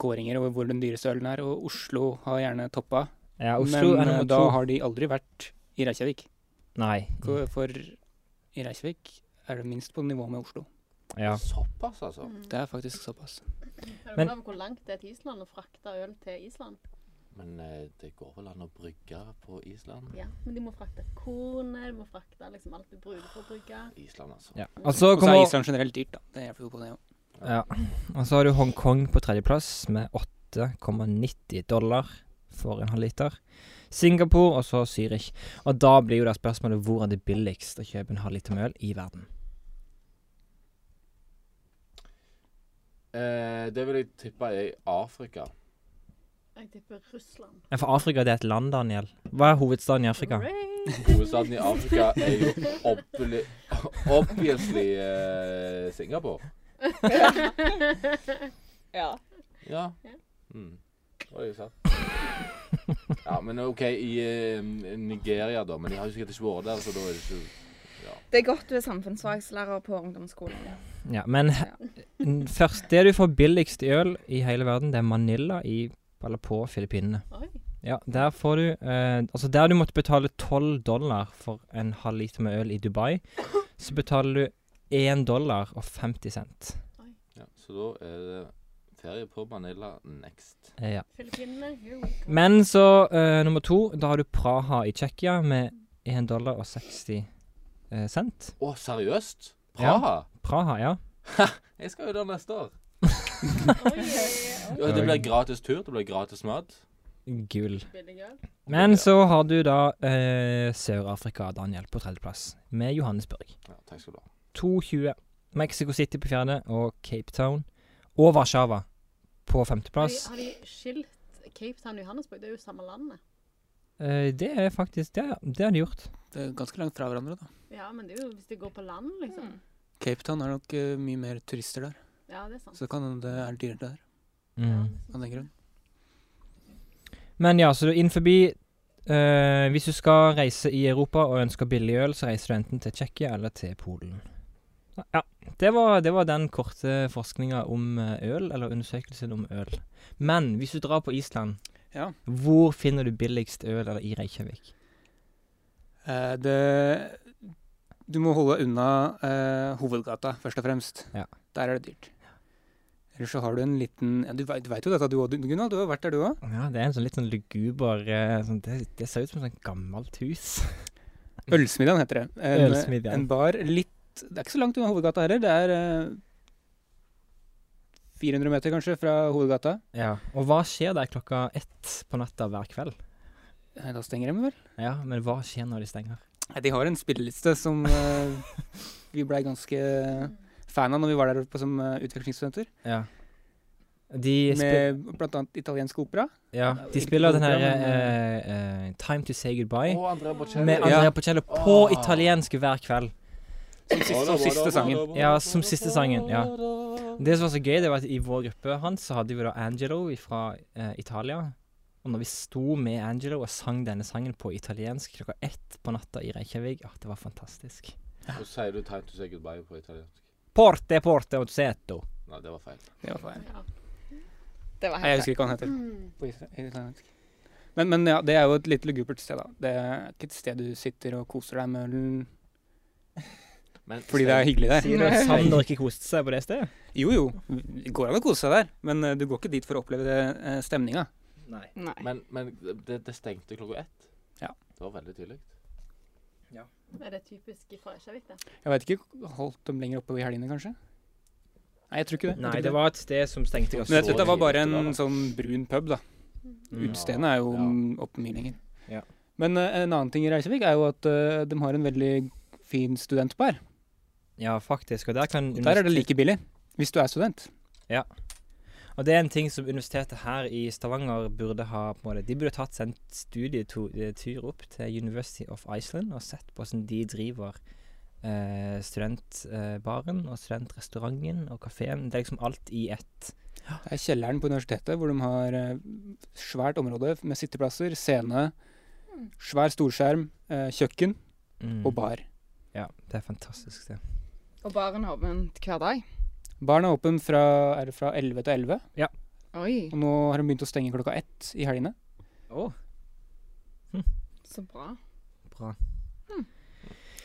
[SPEAKER 3] kåringer over hvor den dyreste ølen er, og Oslo har gjerne toppa.
[SPEAKER 4] Ja, Oslo
[SPEAKER 3] men
[SPEAKER 4] er
[SPEAKER 3] eh,
[SPEAKER 4] nummer
[SPEAKER 3] da
[SPEAKER 4] to. Mm.
[SPEAKER 3] har de aldri vært i Reykjavik.
[SPEAKER 4] Nei.
[SPEAKER 3] Ko- For i Reykjavik er det minst på nivå med Oslo.
[SPEAKER 4] Ja.
[SPEAKER 5] Såpass, altså.
[SPEAKER 3] Det er faktisk såpass.
[SPEAKER 1] Er du
[SPEAKER 4] Men-
[SPEAKER 1] klar over hvor langt det er til Island å frakte øl til Island?
[SPEAKER 5] Men eh, det går vel an å brygge på Island?
[SPEAKER 1] Mm. Ja, men de må frakte kornet, de må frakte liksom alt du bruker for å brygge.
[SPEAKER 5] Island, altså.
[SPEAKER 4] ja. Og så
[SPEAKER 3] Og så er
[SPEAKER 4] kommer
[SPEAKER 3] Island generelt dyrt, da. Det hjelper jo på det òg.
[SPEAKER 4] ja. Og så har du Hongkong på tredjeplass med 8,90 dollar for en halvliter. Singapore og så Zürich. Og da blir jo da spørsmålet hvor er det billigst å kjøpe en halvliter mel i verden?
[SPEAKER 5] Eh, det vil jeg tippe er i Afrika.
[SPEAKER 1] Jeg tipper Russland.
[SPEAKER 4] Ja, For Afrika det er et land, Daniel. Hva er hovedstaden i Afrika?
[SPEAKER 1] Hooray!
[SPEAKER 5] Hovedstaden i Afrika er jo obviously, obviously eh, Singapore.
[SPEAKER 2] Ja.
[SPEAKER 5] Ja.
[SPEAKER 1] Ja.
[SPEAKER 5] Mm. Oi, sant. Ja, men OK, i eh, Nigeria, da. Men jeg har jo sikkert ikke vært der, så da er det ikke
[SPEAKER 2] Det er godt du er samfunnsfagslærer på ungdomsskolen.
[SPEAKER 4] Ja, men n- først Det du får billigst i øl i hele verden, det er Manila i eller på Filippinene.
[SPEAKER 1] Oi.
[SPEAKER 4] Ja, der får du eh, Altså, der du måtte betale 12 dollar for en halv liter med øl i Dubai, så betaler du 1 dollar og 50 cent.
[SPEAKER 5] ja, Så da er det ferie på Manila next.
[SPEAKER 4] Eh, ja.
[SPEAKER 1] Filippinene, here we go.
[SPEAKER 4] Men så, eh, nummer to, da har du Praha i Tsjekkia med 1 dollar og 60 eh, cent.
[SPEAKER 5] Å, seriøst?
[SPEAKER 4] Ja.
[SPEAKER 5] Praha?
[SPEAKER 4] Praha, ja.
[SPEAKER 5] Jeg skal jo der neste år.
[SPEAKER 1] Oi, oi, oi.
[SPEAKER 5] Ja, Det blir gratis tur, det blir gratis mat.
[SPEAKER 4] Gull.
[SPEAKER 1] Billig øl.
[SPEAKER 4] Men så har du da eh, Sør-Afrika, Daniel, på tredjeplass, med Johannesburg.
[SPEAKER 5] Ja, takk skal du ha.
[SPEAKER 4] 2,20. Mexico City på fjerde og Cape Town. Og Warszawa på
[SPEAKER 1] Har
[SPEAKER 4] femteplass.
[SPEAKER 1] de- Har de skilt Cape Town og Johannesburg? Det er jo samme landet.
[SPEAKER 4] Eh, det er faktisk Det, er- det har de gjort.
[SPEAKER 3] Det er ganske langt fra hverandre, da.
[SPEAKER 1] Ja, men det er jo hvis de går på land, liksom.
[SPEAKER 2] Mm. Hmm.
[SPEAKER 3] Cape Town er nok eh, mye mer turister der,
[SPEAKER 1] Ja, det er sant.
[SPEAKER 3] så det kan hende det er dyrere der
[SPEAKER 4] Mm.
[SPEAKER 3] av den grunn.
[SPEAKER 4] Men ja, så innenfor eh, Hvis du skal reise i Europa og ønsker billig øl, så reiser du enten til Tsjekkia eller til Polen. Ja. Det var, det var den korte forskninga om eh, øl, eller undersøkelsen om øl. Men hvis du drar på Island,
[SPEAKER 3] Ja.
[SPEAKER 4] hvor finner du billigst øl eller i Reykjavik?
[SPEAKER 3] Eh, det Du må holde unna eh, hovedgata, først og fremst.
[SPEAKER 4] Ja.
[SPEAKER 3] Der er det dyrt. Ellers så har du en liten ja, Du veit du vet jo dette, du òg, Gunnar. Du har vært der, du òg.
[SPEAKER 4] Ja, det er en sånn litt sånn luguber eh, sånn, det, det ser ut som et sånt gammelt hus.
[SPEAKER 3] Ølsmiddagen heter det. En,
[SPEAKER 4] Mm. Ølsmiddagen.
[SPEAKER 3] en bar litt Det er ikke så langt unna hovedgata heller. Det er eh, 400 meter, kanskje, fra hovedgata.
[SPEAKER 4] Ja. Og hva skjer der klokka ett på natta hver kveld?
[SPEAKER 3] Nei, Da stenger de vel?
[SPEAKER 4] Ja, men hva skjer når de stenger?
[SPEAKER 3] Nei, de har en spilleliste som eh, vi blei ganske fan av når vi var der oppe som eh, utvekslingsstudenter.
[SPEAKER 4] Ja. De, spil
[SPEAKER 3] Med bl.a. italiensk opera.
[SPEAKER 4] ja, de spiller den her eh, eh, Time to say
[SPEAKER 5] Å,
[SPEAKER 4] goodbye
[SPEAKER 5] Andrea Bocelli.
[SPEAKER 4] med
[SPEAKER 3] Ja.
[SPEAKER 4] Andrea Bocello på
[SPEAKER 5] Åh.
[SPEAKER 4] italiensk hver kveld.
[SPEAKER 3] Som siste, som siste sangen.
[SPEAKER 4] Ja, som siste sangen. Ja. Det som var så gøy, det var at i vår gruppe hans så hadde vi da Angelo fra eh, Italia. Og når vi sto med Angelo og sang denne sangen på italiensk klokka ett på natta i Reykjavik, ja, det var fantastisk.
[SPEAKER 5] Så sier du 'time to say goodbye' på italiensk.
[SPEAKER 4] Porte, porte, otseto.
[SPEAKER 5] Nei, det var feil.
[SPEAKER 3] Det var feil.
[SPEAKER 2] Det var
[SPEAKER 3] Nei, jeg
[SPEAKER 2] helt
[SPEAKER 3] husker ikke hva han heter.
[SPEAKER 1] Mm.
[SPEAKER 3] På isla- islandsk. Men, men ja, det er jo et litt lugubert sted, da. Det er ikke et sted du sitter og koser deg med ølen
[SPEAKER 5] Men
[SPEAKER 3] fordi det er hyggelig der.
[SPEAKER 4] Sier du at Sander ikke koste seg på det stedet?
[SPEAKER 3] Jo jo, det går an å kose seg der, men eh, du går ikke dit for å oppleve det, eh, stemninga.
[SPEAKER 4] Nei.
[SPEAKER 2] Nei.
[SPEAKER 5] Men, men det, det stengte klokka ett.
[SPEAKER 3] Ja.
[SPEAKER 5] Det var veldig tidlig.
[SPEAKER 1] Er det typisk fra Reykjavik, det?
[SPEAKER 3] Jeg veit ikke, holdt dem lenger oppe i helgene, kanskje? Nei, jeg tror ikke det. Jeg
[SPEAKER 4] Nei,
[SPEAKER 3] tror ikke
[SPEAKER 4] det var et sted som stengte ganske
[SPEAKER 3] Men dette, dette var bare
[SPEAKER 5] det var
[SPEAKER 3] en
[SPEAKER 5] da.
[SPEAKER 3] sånn brun pub, da.
[SPEAKER 4] Mm.
[SPEAKER 3] Utestedene er jo
[SPEAKER 5] Ja.
[SPEAKER 3] mm, oppe mye lenger.
[SPEAKER 4] Ja.
[SPEAKER 3] Men eh, en annen ting i Reisevik er jo at eh, de har en veldig fin studentbar.
[SPEAKER 4] Ja, faktisk. Og der kan
[SPEAKER 3] Og der er det like billig hvis du er student.
[SPEAKER 4] Og det er en ting som universitetet her i Stavanger burde ha på en måte, De burde tatt seg en studietur eh, opp til University of Iceland og sett på hvordan de driver eh, studentbaren eh, og studentrestauranten og kafeen. Det er liksom alt i ett.
[SPEAKER 3] Det er kjelleren på universitetet hvor de har eh, svært område med sitteplasser, scene, svær storskjerm, eh, kjøkken
[SPEAKER 4] Mm.
[SPEAKER 3] og bar.
[SPEAKER 4] Ja, det er fantastisk, det.
[SPEAKER 2] Og baren er åpen hver dag.
[SPEAKER 3] Baren er åpen fra, er det fra 11 til 11,
[SPEAKER 2] Oi,
[SPEAKER 3] og nå har de begynt å stenge klokka ett i helgene.
[SPEAKER 2] så bra.
[SPEAKER 4] Bra.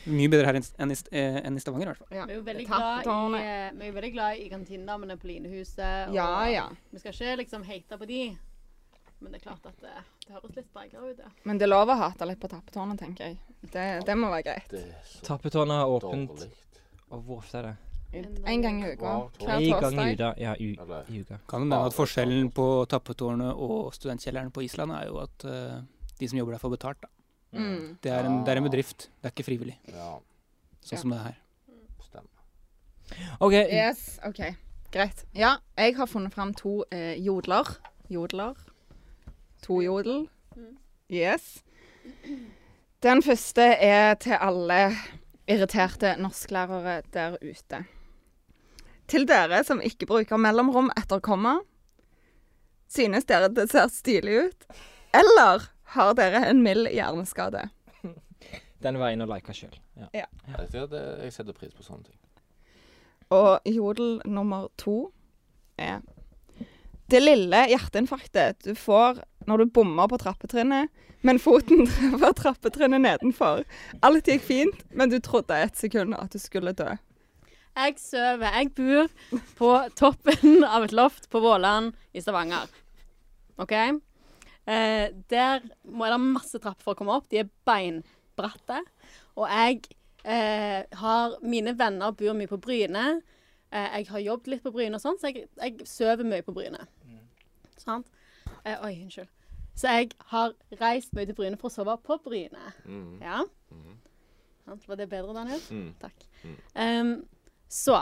[SPEAKER 3] Mye bedre her enn s- enn i, st- eh, enn i Stavanger, i hvert fall.
[SPEAKER 2] Ja.
[SPEAKER 1] Vi er jo veldig glad i,
[SPEAKER 2] Tappetårnet.
[SPEAKER 1] eh, vi er jo veldig glad i kantinedamene på Linehuset. og-
[SPEAKER 2] Ja, ja.
[SPEAKER 1] Vi skal ikke liksom hate på de, men det er klart at det, det høres litt bregere ut, ja.
[SPEAKER 2] Men det er lov å hate litt på tappetårnet, tenker jeg. Det, det må være greit.
[SPEAKER 5] Det er så
[SPEAKER 4] Tappetårnet har åpent
[SPEAKER 5] dårlig.
[SPEAKER 4] Og hvor ofte er det?
[SPEAKER 2] En gang i uka.
[SPEAKER 5] Wow,
[SPEAKER 2] Hver
[SPEAKER 4] En gang i
[SPEAKER 2] torsdag.
[SPEAKER 4] uka. Ja, u
[SPEAKER 5] Eller
[SPEAKER 4] i uka.
[SPEAKER 3] Kan jo nevne at forskjellen på tappetårnet og studentkjelleren på Island er jo at eh, de som jobber der, får betalt. Da.
[SPEAKER 2] Mm.
[SPEAKER 3] Det, er en, det er en bedrift, det er ikke frivillig,
[SPEAKER 5] Ja,
[SPEAKER 3] sånn som det er her.
[SPEAKER 5] stemmer.
[SPEAKER 4] OK.
[SPEAKER 2] Yes, OK. Greit. Ja, jeg har funnet fram to eh, jodler. Jodler. To jodel. Yes. Den første er til alle irriterte norsklærere der ute. Til dere som ikke bruker mellomrom etter komma, synes dere det ser stilig ut? Eller har dere en mild hjerneskade?
[SPEAKER 4] Den var jeg inne og lika sjøl. Ja.
[SPEAKER 5] Jeg, sier det, jeg setter pris på sånne ting.
[SPEAKER 2] Og jodel nummer to er Det lille hjerteinfarktet du får når du bommer på trappetrinnet, men foten treffer trappetrinnet nedenfor. Alt gikk fint, men du trodde et sekund at du skulle dø.
[SPEAKER 1] Jeg sover. Jeg bor på toppen av et loft på Våland i Stavanger. OK? Eh, der må det masse trapper for å komme opp. De er beinbratte. Og jeg eh, har Mine venner bor mye på Bryne. Eh, jeg har jobbet litt på Bryne og sånn, så jeg, jeg sover mye på Bryne. Sant? Eh, oi, unnskyld. Så jeg har reist mye til Bryne for å sove på Bryne. Ja? Sant? Var det bedre, Daniel?
[SPEAKER 5] Mm.
[SPEAKER 1] Takk. Ehm, så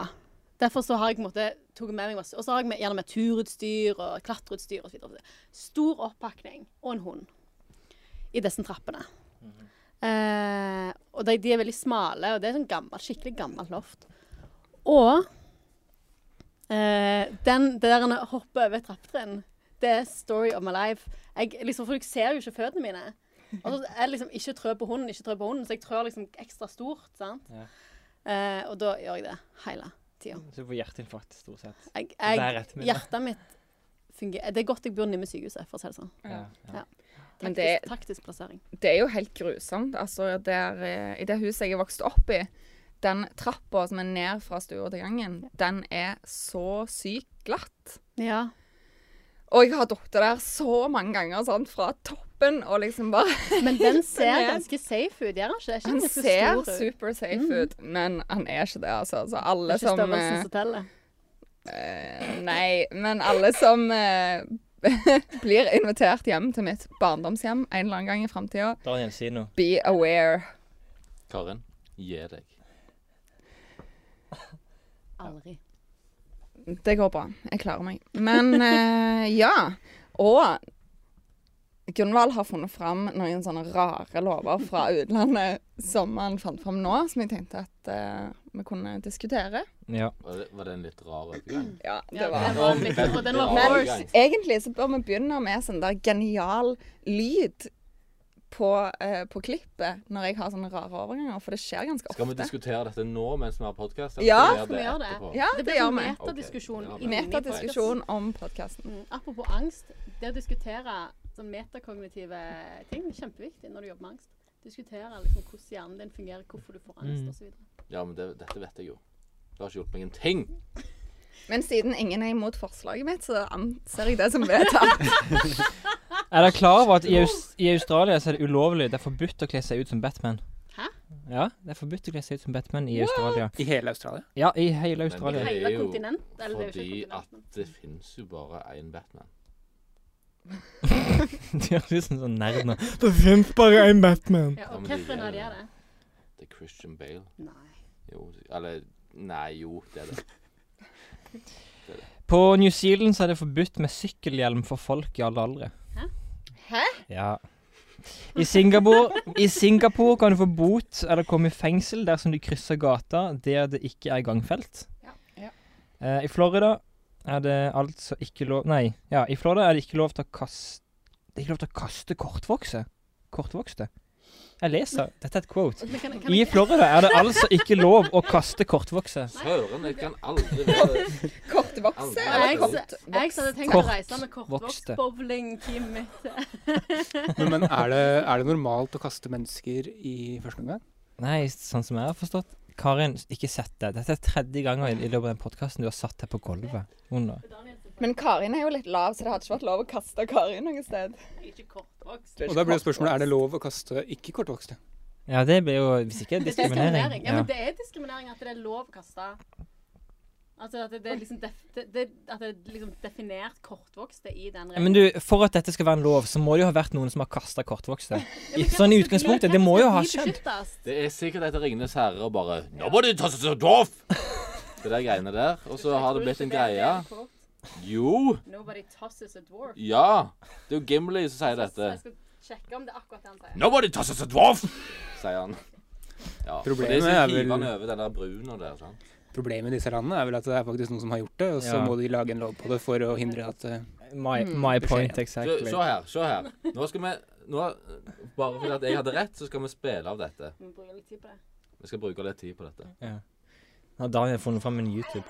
[SPEAKER 1] derfor så har jeg på en måte tatt med meg masse. Og så har jeg med, gjerne med turutstyr og klatreutstyr osv. Stor oppakning og en hund i disse trappene. Eh, og de, de er veldig smale, og det er sånn gammelt, skikkelig gammelt loft. Og eh, den det der å hoppe over et trappetrinn, det er story of my life. Jeg, liksom, for jeg ser jo ikke føttene mine. Og så er det liksom ikke trø på hunden, ikke trø på hunden, så jeg trør liksom ekstra stort. sant?
[SPEAKER 4] Ja.
[SPEAKER 1] Eh, og da gjør jeg det hele tida.
[SPEAKER 4] Så du får hjerteinfarkt stort sett.
[SPEAKER 1] Jeg,
[SPEAKER 4] Det er
[SPEAKER 1] jeg,
[SPEAKER 4] rett med det.
[SPEAKER 1] hjertet mitt fungerer Det er godt jeg bor nede med sykehuset, for å si det sånn.
[SPEAKER 4] Ja, ja.
[SPEAKER 2] Men
[SPEAKER 1] Taktisk,
[SPEAKER 2] det-
[SPEAKER 1] taktisk plassering.
[SPEAKER 2] Det er jo helt grusomt. Altså, der, eh, I det huset jeg er vokst opp i, den trappa som er ned fra stua til gangen, den er så sykt glatt.
[SPEAKER 1] Ja.
[SPEAKER 2] Og jeg har falt der så mange ganger, sant, fra toppen og liksom bare
[SPEAKER 1] Men den ser
[SPEAKER 2] Den er-
[SPEAKER 1] ganske safe ut, gjør den ikke? Er ikke
[SPEAKER 2] Han
[SPEAKER 1] den ganske
[SPEAKER 2] ser
[SPEAKER 1] stor ut?
[SPEAKER 2] super safe ut, men han er ikke det, altså. Så
[SPEAKER 1] Det
[SPEAKER 2] alle
[SPEAKER 1] er ikke
[SPEAKER 2] som
[SPEAKER 1] størrelsen som teller.
[SPEAKER 2] eh, Nei, men alle som eh, blir invitert hjem til mitt barndomshjem en eller annen gang i framtida,
[SPEAKER 4] Daniel, si noe.
[SPEAKER 2] be aware.
[SPEAKER 5] Karen, gi deg.
[SPEAKER 1] Aldri.
[SPEAKER 2] Det går bra. Jeg klarer meg. Men eh, ja. Og Gunvald har funnet fram noen sånne rare lover fra utlandet som han fant fram nå, som jeg tenkte at eh, vi kunne diskutere.
[SPEAKER 4] Ja.
[SPEAKER 5] Var det, var det en litt rar overgang?
[SPEAKER 2] Ja, det
[SPEAKER 1] Ja,
[SPEAKER 2] var
[SPEAKER 1] den var litt, og den var
[SPEAKER 5] Men-
[SPEAKER 1] hoarse.
[SPEAKER 2] Egentlig så bør vi begynne med sånn der genial lyd på, eh, på klippet når jeg har sånne rare overganger, for det skjer ganske
[SPEAKER 5] Skal vi
[SPEAKER 2] ofte.
[SPEAKER 5] diskutere dette nå mens vi har podkast?
[SPEAKER 2] Ja,
[SPEAKER 1] Skal vi gjøre det?
[SPEAKER 2] Ja,
[SPEAKER 1] Det
[SPEAKER 2] det
[SPEAKER 1] blir
[SPEAKER 2] gjør
[SPEAKER 1] sånn
[SPEAKER 2] vi.
[SPEAKER 1] metadiskusjon.
[SPEAKER 5] Ok, ja,
[SPEAKER 1] inni
[SPEAKER 2] Metadiskusjon
[SPEAKER 1] podcasten.
[SPEAKER 2] om podkasten.
[SPEAKER 1] Mm, Apropos angst. Det å diskutere sånn metakognitive ting er kjempeviktig når du jobber med angst. Diskutere liksom hvordan hjernen din fungerer, hvorfor du får angst
[SPEAKER 4] Mm.
[SPEAKER 1] osv.
[SPEAKER 5] Ja, men det, dette vet jeg jo. Det har ikke gjort meg en ting.
[SPEAKER 2] Men siden ingen er imot forslaget mitt, så anser jeg det som vedtatt.
[SPEAKER 4] Er dere klar over at i, Aus i Australia så er det ulovlig? Det er forbudt å kle seg ut som Batman.
[SPEAKER 1] Hæ?
[SPEAKER 4] Ja, det er forbudt å kle seg ut som Batman i Australia.
[SPEAKER 3] I hele Australia?
[SPEAKER 4] Ja, i hele
[SPEAKER 5] Men
[SPEAKER 4] Australia.
[SPEAKER 5] det
[SPEAKER 1] Hele
[SPEAKER 5] er jo
[SPEAKER 1] kontinent. Eller det er jo
[SPEAKER 5] Fordi
[SPEAKER 1] ikke
[SPEAKER 5] at
[SPEAKER 1] kontinent. men-
[SPEAKER 5] det fins jo bare én Batman.
[SPEAKER 4] De høres ut som sånn nerd nå. Det fins bare én Batman.
[SPEAKER 1] Ja,
[SPEAKER 5] Ja,
[SPEAKER 1] og
[SPEAKER 5] men det
[SPEAKER 1] hvorfor
[SPEAKER 5] er-
[SPEAKER 1] er det det?
[SPEAKER 5] Det er Christian Bale.
[SPEAKER 1] Nei.
[SPEAKER 5] Jo, eller Nei, jo, det er det.
[SPEAKER 4] På New Zealand så er det forbudt med sykkelhjelm for folk i alle aldre.
[SPEAKER 1] Hæ?
[SPEAKER 2] Hæ?
[SPEAKER 4] Ja. I Singapore, I Singapore kan du få bot eller komme i fengsel dersom du krysser gata der det ikke er gangfelt.
[SPEAKER 1] Ja.
[SPEAKER 2] Ja.
[SPEAKER 4] Eh, I Florida er det altså ikke lov Nei, ja, i Florida er det ikke lov til å kaste Det er ikke lov til å kaste kortvokse. kortvokste. Jeg leser. Dette er et quote.
[SPEAKER 1] Altså, Men kan, kan
[SPEAKER 4] I
[SPEAKER 1] jeg,
[SPEAKER 4] Florida er det altså ikke lov å kaste kortvokse.
[SPEAKER 5] Søren, jeg kan aldri være
[SPEAKER 2] Kortvokse
[SPEAKER 1] jeg,
[SPEAKER 2] eller
[SPEAKER 5] Aldri.
[SPEAKER 2] kort?
[SPEAKER 1] jeg, hadde tenkt å
[SPEAKER 4] Kort
[SPEAKER 1] reise med
[SPEAKER 4] vokste.
[SPEAKER 1] kortvokst-bowling-teamet mitt.
[SPEAKER 3] Men, men er, det, er det normalt å kaste mennesker i første omgang?
[SPEAKER 4] Nei, sånn som jeg har forstått Karin, ikke sett det. Dette er tredje gangen i, i løpet av den podkasten du har satt deg på gulvet. Under.
[SPEAKER 2] Men Karin er jo litt lav, så det hadde ikke vært lov å kaste Karin noe sted.
[SPEAKER 1] Ikke kortvokst.
[SPEAKER 3] Og da blir jo spørsmålet er det lov å kaste ikke kortvokste.
[SPEAKER 4] Ja, det blir jo Hvis ikke
[SPEAKER 1] Det er
[SPEAKER 4] diskriminering.
[SPEAKER 1] Ja,
[SPEAKER 4] Ja.
[SPEAKER 1] men det er diskriminering at det er lov å kaste. Altså at det, det er liksom def, det, det, at det er liksom definert kortvokste i den
[SPEAKER 4] Men du, for at dette skal være en lov, så må det jo ha vært noen som har kasta kortvokste. I, sånn i utgangspunktet. Det må jo ha skjedd.
[SPEAKER 5] Det er sikkert etter Ringenes herre og bare Nå må du ta seg off! Det der greiene der. Og så har det blitt en greie. Jo.
[SPEAKER 1] Nobody tosses a dwarf.
[SPEAKER 5] Ja. Det er jo Gimli som sier dette.
[SPEAKER 1] Så jeg skal sjekke om det er akkurat det han sier.
[SPEAKER 5] Nobody tosses a dwarf! Sier han. Ja, for
[SPEAKER 3] Problemet
[SPEAKER 5] det er
[SPEAKER 3] er
[SPEAKER 5] så
[SPEAKER 3] vel-
[SPEAKER 5] hiver han over den der bruna der. sant?
[SPEAKER 3] Problemet i disse landene er vel at det er faktisk noen som har gjort det, og så
[SPEAKER 4] Ja.
[SPEAKER 3] må de lage en lov på det for å hindre at eh,
[SPEAKER 4] My,
[SPEAKER 1] Hmm.
[SPEAKER 4] my point
[SPEAKER 5] Se
[SPEAKER 4] exactly.
[SPEAKER 5] se her. se her. Nå skal vi nå, Bare fordi at jeg hadde rett, så skal vi spille av dette.
[SPEAKER 1] Vi bruker litt tid på det.
[SPEAKER 5] Vi skal bruke litt tid på dette.
[SPEAKER 4] Nå har Daniel funnet fram en YouTube.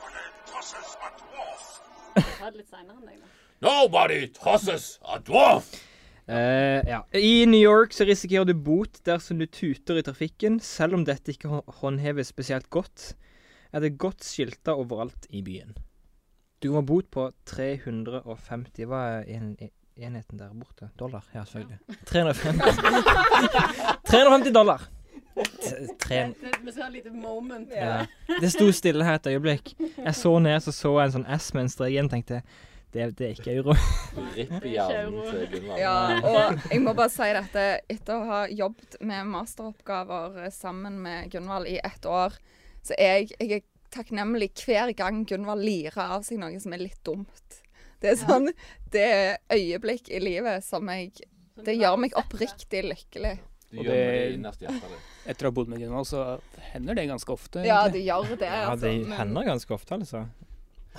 [SPEAKER 1] Ta det litt senere enn deg, da.
[SPEAKER 5] Nobody tosses a dwarf!
[SPEAKER 4] Eh, ja. I New York så risikerer du bot dersom du tuter i trafikken, selv om dette ikke hå- håndheves spesielt godt. Er det godt skilta overalt i byen. Du kan få bot på 350 Hva er en, en- enheten der borte? Dollar? Ja, selvfølgelig. 350. 350 dollar! T- Tre,
[SPEAKER 1] Det- Vi skal ha et lite moment.
[SPEAKER 4] ja. Det sto stille her et øyeblikk. Jeg så ned, så så jeg en sånn S med en strek igjen, tenkte jeg. Det, det er ikke euro.
[SPEAKER 5] Ripp i hjernen til Gunvald.
[SPEAKER 2] Ja, og jeg må bare si dette. Etter å ha jobbet med masteroppgaver eh, sammen med Gunvald i ett år, så er jeg, jeg er takknemlig hver gang Gunvald lirer av seg noe som er litt dumt. Det er sånn, det er øyeblikk i livet som jeg
[SPEAKER 1] Sånn
[SPEAKER 2] Det gjør meg oppriktig lykkelig.
[SPEAKER 5] Du
[SPEAKER 3] Og
[SPEAKER 5] gjemmer det
[SPEAKER 3] det-
[SPEAKER 5] innerst i hjertet ditt.
[SPEAKER 3] etter å ha bodd med Gunvald, så hender det ganske ofte.
[SPEAKER 2] Ja,
[SPEAKER 3] egentlig.
[SPEAKER 2] det gjør det.
[SPEAKER 4] Ja, sånn,
[SPEAKER 2] Altså.
[SPEAKER 4] det
[SPEAKER 2] Men,
[SPEAKER 4] hender ganske ofte, altså.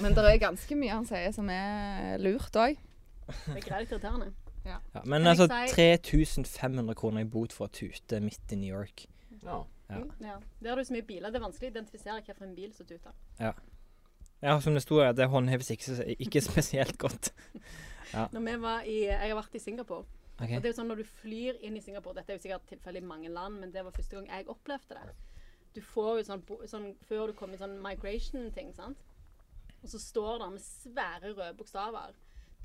[SPEAKER 2] men det er ganske mye han sier som er lurt òg.
[SPEAKER 1] Det er greit irriterende.
[SPEAKER 4] Ja, men
[SPEAKER 1] Kan
[SPEAKER 4] altså
[SPEAKER 1] jeg
[SPEAKER 4] 3500 kroner i bot for å tute midt i New York.
[SPEAKER 5] Ja.
[SPEAKER 1] Ja. Der har du så mye biler. Det er vanskelig å identifisere hvilken bil som tuter.
[SPEAKER 4] Ja, som det sto her, det håndheves ikke, ikke spesielt godt.
[SPEAKER 1] Når vi var i, jeg har vært i Singapore.
[SPEAKER 4] Ok.
[SPEAKER 1] Og det er jo sånn Når du flyr inn i Singapore Dette er jo sikkert tilfellet i mange land, men det var første gang jeg opplevde det. Du får jo sånn, bo- sånn Før du kommer i sånn migration-ting, sant. Og så står det med svære røde bokstaver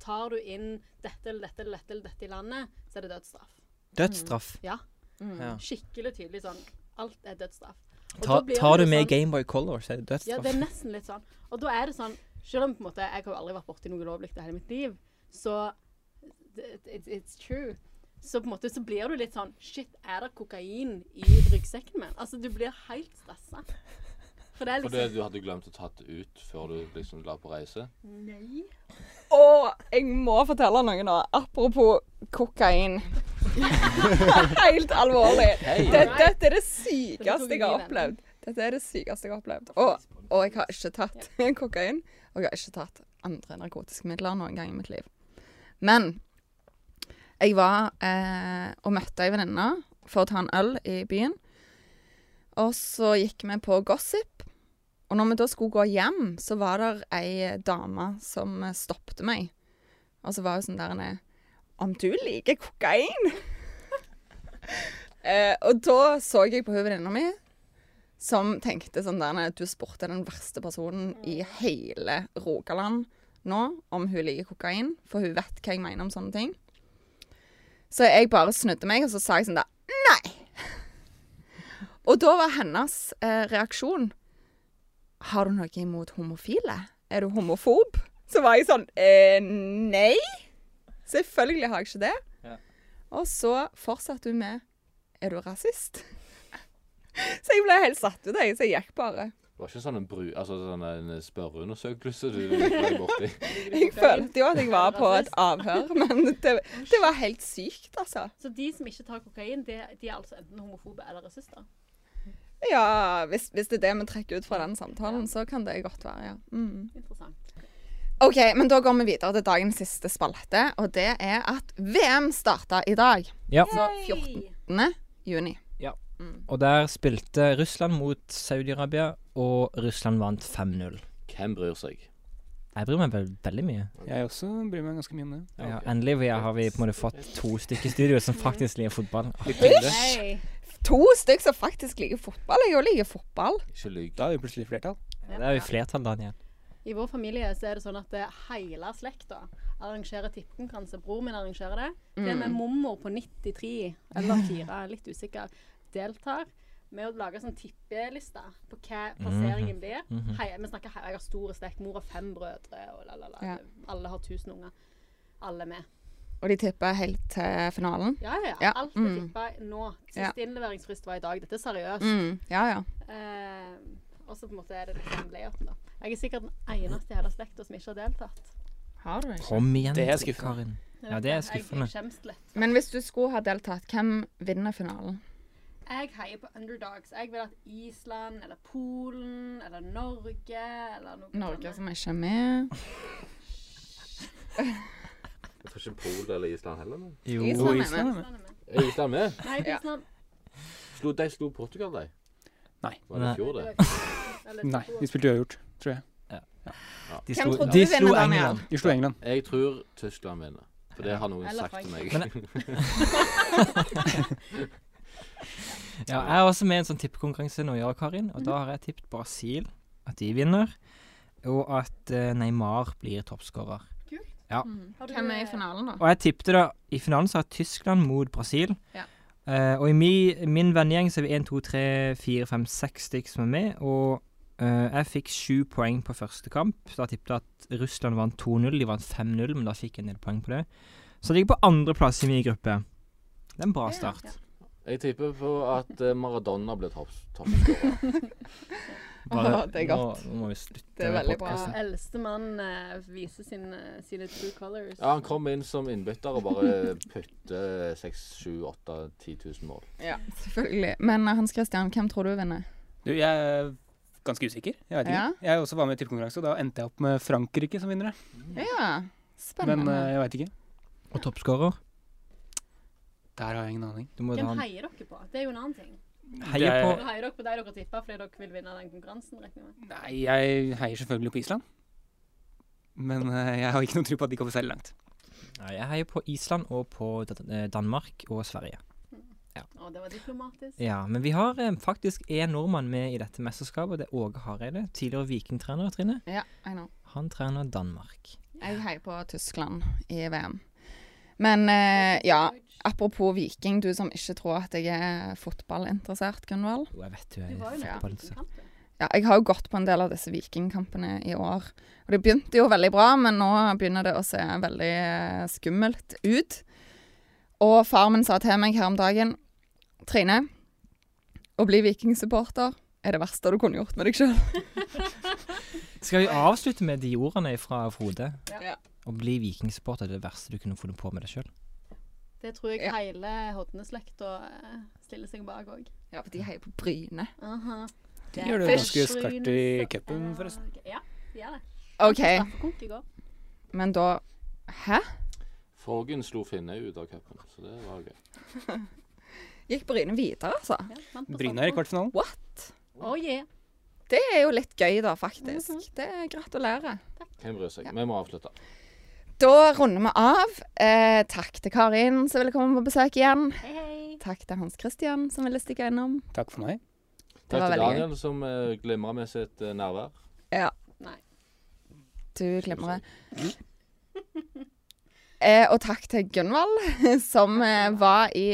[SPEAKER 1] Tar du inn dette eller dette eller dette eller dette i landet, så er det dødsstraff.
[SPEAKER 4] Dødsstraff.
[SPEAKER 1] Ja.
[SPEAKER 4] Ja.
[SPEAKER 1] Skikkelig tydelig sånn. Alt er dødsstraff. Mm. Og
[SPEAKER 4] Ta,
[SPEAKER 1] da blir
[SPEAKER 4] tar
[SPEAKER 1] det
[SPEAKER 4] du
[SPEAKER 1] jo
[SPEAKER 4] med
[SPEAKER 1] sånn-
[SPEAKER 4] Gameboy Color, så er det
[SPEAKER 1] Ja, det
[SPEAKER 4] dødsstraff.
[SPEAKER 1] er nesten litt sånn. Og da er det sånn Selv om på en måte, jeg har jo aldri vært borti noe ulovlig i hele mitt liv, så it, it, It's true. Så på en måte så blir du litt sånn Shit, er det kokain i ryggsekken min? Altså, du blir helt stressa. For det er
[SPEAKER 5] Fordi
[SPEAKER 1] liksom
[SPEAKER 5] du hadde glemt å ta det ut før du liksom la på reise?
[SPEAKER 1] liksom-
[SPEAKER 2] Og jeg må fortelle noe nå. Apropos kokain. Helt alvorlig. Dette, dette er det sykeste jeg har opplevd. Dette er det sykeste jeg har opplevd. Og, og jeg har ikke tatt kokain. Og jeg har ikke tatt andre narkotiske midler noen gang i mitt liv. Men jeg var eh, og møtte ei venninne for å ta en øl i byen. Og så gikk vi på gossip. Og når vi da skulle gå hjem, så var det ei dame som eh, stoppte meg. Og så var hun sånn der nede Om du liker kokain? eh, og da så jeg på hun venninna mi, som tenkte sånn der nede Du spurte den verste personen i hele Rogaland nå om hun liker kokain, for hun vet hva jeg mener om sånne ting. Så jeg bare snudde meg, og så sa jeg sånn der Nei! Og da var hennes eh, reaksjon har du noe imot homofile? Er du homofob? Så var jeg sånn eh, Nei! Selvfølgelig har jeg ikke det.
[SPEAKER 4] Ja.
[SPEAKER 2] Og så fortsatte hun med Er du rasist? så jeg ble helt satt ut, jeg. Så jeg gikk bare.
[SPEAKER 5] Det var ikke sånn en, bru, altså sånn en spørreundersøkelse du ble borti?
[SPEAKER 2] Jeg følte jo at jeg var på et avhør, men det, det var helt sykt, altså.
[SPEAKER 1] Så de som ikke tar kokain, de, de er altså enten homofobe eller rasister?
[SPEAKER 2] Ja, hvis, hvis det er det vi trekker ut fra den samtalen, så kan det godt være, ja. Mm.
[SPEAKER 1] Interessant.
[SPEAKER 2] OK, men da går vi videre til dagens siste spalte, og det er at VM starta i dag.
[SPEAKER 4] Ja.
[SPEAKER 2] Så 14. juni.
[SPEAKER 4] Og der spilte Russland mot Saudi-Arabia, og Russland vant 5-0.
[SPEAKER 5] Hvem bryr seg?
[SPEAKER 4] Jeg bryr meg vel veldig mye.
[SPEAKER 3] Jeg også bryr meg ganske mye om det.
[SPEAKER 4] Ja, endelig vi- har vi på en måte fått to stykker i studio som faktisk liker fotball.
[SPEAKER 1] Hei.
[SPEAKER 2] To stykker som faktisk liker fotball. Jeg òg liker fotball.
[SPEAKER 5] Ikke lyg.
[SPEAKER 3] Da er vi plutselig flertall.
[SPEAKER 4] Det er jo flertall, Daniel.
[SPEAKER 1] I vår familie så er det sånn at eh, hele slekta arrangerer tippekonkurranse. Bror min arrangerer det. Det med
[SPEAKER 2] Mm.
[SPEAKER 1] mormor på 93 eller 4, litt usikker, deltar med å lage sånn tippeliste på hva
[SPEAKER 2] Mhm.
[SPEAKER 1] plasseringen blir. Hei, vi snakker hei, jeg har store slekt. Mor har fem brødre, og la, la, la.
[SPEAKER 2] Ja.
[SPEAKER 1] Alle har tusen unger. Alle med.
[SPEAKER 2] Og de tipper helt til finalen.
[SPEAKER 1] Ja, ja, ja.
[SPEAKER 2] Ja,
[SPEAKER 1] Alt er
[SPEAKER 2] mm.
[SPEAKER 1] tippa nå.
[SPEAKER 2] Ja.
[SPEAKER 1] Siste innleveringsfrist var i dag. Dette er seriøst.
[SPEAKER 2] Mm, ja, ja.
[SPEAKER 1] Eh, og så på en måte er det liksom layouten, da. Jeg er sikkert den eneste i hele slekta som ikke har deltatt.
[SPEAKER 2] Har du ikke?
[SPEAKER 4] Kom igjen,
[SPEAKER 3] Det er skuffende.
[SPEAKER 4] Karin.
[SPEAKER 1] Jeg
[SPEAKER 4] Ja,
[SPEAKER 1] vet
[SPEAKER 4] det er
[SPEAKER 1] jeg-
[SPEAKER 4] skuffende.
[SPEAKER 1] Jeg skjemmes litt.
[SPEAKER 2] Men hvis du skulle ha deltatt, hvem vinner finalen?
[SPEAKER 1] Jeg heier på underdogs. Jeg vil at Island eller Polen eller Norge eller noe
[SPEAKER 2] Norge
[SPEAKER 1] sånt.
[SPEAKER 2] altså. som ikke er med.
[SPEAKER 5] Jeg tror ikke Polen eller Island heller. men.
[SPEAKER 2] Island er med.
[SPEAKER 3] Island er med.
[SPEAKER 1] Island er med.
[SPEAKER 5] Er Island med?
[SPEAKER 1] Nei,
[SPEAKER 2] Ja.
[SPEAKER 1] Island
[SPEAKER 5] Slo, de slo Portugal, de.
[SPEAKER 3] Nei.
[SPEAKER 5] Var det i fjor, det?
[SPEAKER 1] Eller
[SPEAKER 3] Nei,
[SPEAKER 1] to.
[SPEAKER 3] vi spilte uavgjort, tror jeg.
[SPEAKER 2] Hvem
[SPEAKER 4] De slo,
[SPEAKER 2] trodde
[SPEAKER 4] de
[SPEAKER 2] du
[SPEAKER 4] slo
[SPEAKER 2] vinner, Daniel?
[SPEAKER 4] England.
[SPEAKER 3] Vi slo England.
[SPEAKER 5] Jeg tror Tyskland vinner. For det har noen
[SPEAKER 1] Eller
[SPEAKER 5] sagt til meg.
[SPEAKER 4] Frankrike. Ja, jeg er også med i en sånn tippekonkurranse nå i år, Karin. Og
[SPEAKER 2] Mhm.
[SPEAKER 4] da har jeg tippet Brasil, at de vinner. Og at eh, Neymar blir toppskårer.
[SPEAKER 1] Har du,
[SPEAKER 2] Hvem
[SPEAKER 1] eh,
[SPEAKER 2] er i finalen, da?
[SPEAKER 4] Og jeg tippte da I finalen så har Tyskland mot Brasil.
[SPEAKER 2] Ja.
[SPEAKER 4] Eh, og i mi, min vennegjeng så er vi 1, 2, 3, 4, 5, 6 stykker som er med. Og eh, jeg fikk sju poeng på første kamp. Da tippet jeg at Russland vant 2-0. De vant 5-0, men da fikk jeg en del poeng på det. Så jeg ligger på andreplass i min gruppe. Det er en bra start.
[SPEAKER 1] Ja.
[SPEAKER 5] Jeg tipper på at eh, Maradona blir topps- toppskårer.
[SPEAKER 2] Å, det er godt.
[SPEAKER 4] Nå, nå må vi slutte
[SPEAKER 2] Det er veldig bra.
[SPEAKER 4] podcasten.
[SPEAKER 1] Eldste mann eh, viser sin, eh, sine true colors.
[SPEAKER 5] Ja, han kom inn som innbytter og bare putter 6 7 8 10 000 mål.
[SPEAKER 2] Ja, selvfølgelig. Men eh, Hans Christian, hvem tror du vinner?
[SPEAKER 3] Du, jeg er ganske usikker. Jeg vet ikke.
[SPEAKER 2] Ja.
[SPEAKER 3] Jeg også var med i tippekonkurranse, og da endte jeg opp med Frankrike som vinnere.
[SPEAKER 2] Ja,
[SPEAKER 3] Men
[SPEAKER 2] spennende.
[SPEAKER 3] eh, jeg veit ikke.
[SPEAKER 4] Og toppskårer.
[SPEAKER 3] Der har jeg ingen aning.
[SPEAKER 4] Du må ta
[SPEAKER 1] Hvem
[SPEAKER 4] en
[SPEAKER 1] heier dere på? Det er jo en annen ting.
[SPEAKER 4] heie
[SPEAKER 3] Det
[SPEAKER 4] på
[SPEAKER 3] er-
[SPEAKER 1] Nå heier dere på de dere tipper fordi dere vil vinne den konkurransen, regner jeg med.
[SPEAKER 3] Nei, jeg heier selvfølgelig på Island. Men eh, jeg har ikke noen tro på at de kommer særlig langt.
[SPEAKER 4] Nei, Jeg heier på Island og på Dan- eh, Danmark og Sverige.
[SPEAKER 1] Å, det var diplomatisk.
[SPEAKER 4] Ja, Men vi har eh, faktisk én nordmann med i dette mesterskapet. Det er Åge Hareide. Tidligere vikingtrener, Trine.
[SPEAKER 2] Ja, I know.
[SPEAKER 4] Han trener Danmark.
[SPEAKER 2] Jeg heier på Tyskland i VM. Men eh, ja, apropos viking, du som ikke tror at jeg er fotballinteressert, Gunvald.
[SPEAKER 4] Jo, jeg vet du er
[SPEAKER 1] Du var jo
[SPEAKER 2] Ja.
[SPEAKER 1] nettopp
[SPEAKER 4] fotball...
[SPEAKER 1] utenkamp, du.
[SPEAKER 2] Ja, jeg har jo gått på en del av disse vikingkampene i år. Og det begynte jo veldig bra, men nå begynner det å se veldig eh, skummelt ut. Og far min sa til meg her om dagen Trine, å bli vikingsupporter er det verste du kunne gjort med deg sjøl.
[SPEAKER 4] Skal vi avslutte med de ordene fra Frode?
[SPEAKER 2] Ja.
[SPEAKER 4] Å bli vikingsupporter er det verste du kunne funnet på med deg sjøl.
[SPEAKER 1] Det tror jeg
[SPEAKER 2] Ja.
[SPEAKER 1] hele Hodne-slekta eh, stiller seg bak òg.
[SPEAKER 2] Ja, for de heier på Bryne.
[SPEAKER 3] De gjør det jo ganske skarpt i cupen, forresten. Eh.
[SPEAKER 1] Ja, de gjør det.
[SPEAKER 2] OK,
[SPEAKER 1] Straffekonk i går.
[SPEAKER 2] men da Hæ?
[SPEAKER 5] Forgen slo Finne ut av cupen, så det var gøy.
[SPEAKER 2] Gikk Bryne videre, altså?
[SPEAKER 1] Ja, vant på
[SPEAKER 3] Bryne er i
[SPEAKER 1] straffekonk.
[SPEAKER 3] kvartfinalen.
[SPEAKER 2] What?
[SPEAKER 1] Oh, yeah.
[SPEAKER 2] Det er jo litt gøy, da, faktisk. Det er Gratulerer.
[SPEAKER 5] Hvem bryr seg? Vi må avslutte.
[SPEAKER 2] Da runder vi av. Eh, takk til Karin som ville komme på besøk igjen.
[SPEAKER 1] Hei, hei.
[SPEAKER 2] Takk til Hans Christian som ville stikke innom.
[SPEAKER 3] Takk for meg.
[SPEAKER 2] Det
[SPEAKER 5] Takk
[SPEAKER 2] var
[SPEAKER 5] til
[SPEAKER 2] veldig gøy.
[SPEAKER 5] Daniel, som uh, glimra med sitt eh, nærvær.
[SPEAKER 2] Ja.
[SPEAKER 1] Nei.
[SPEAKER 2] Du glemmer det. Eh, og takk til Gunvald, som eh, var i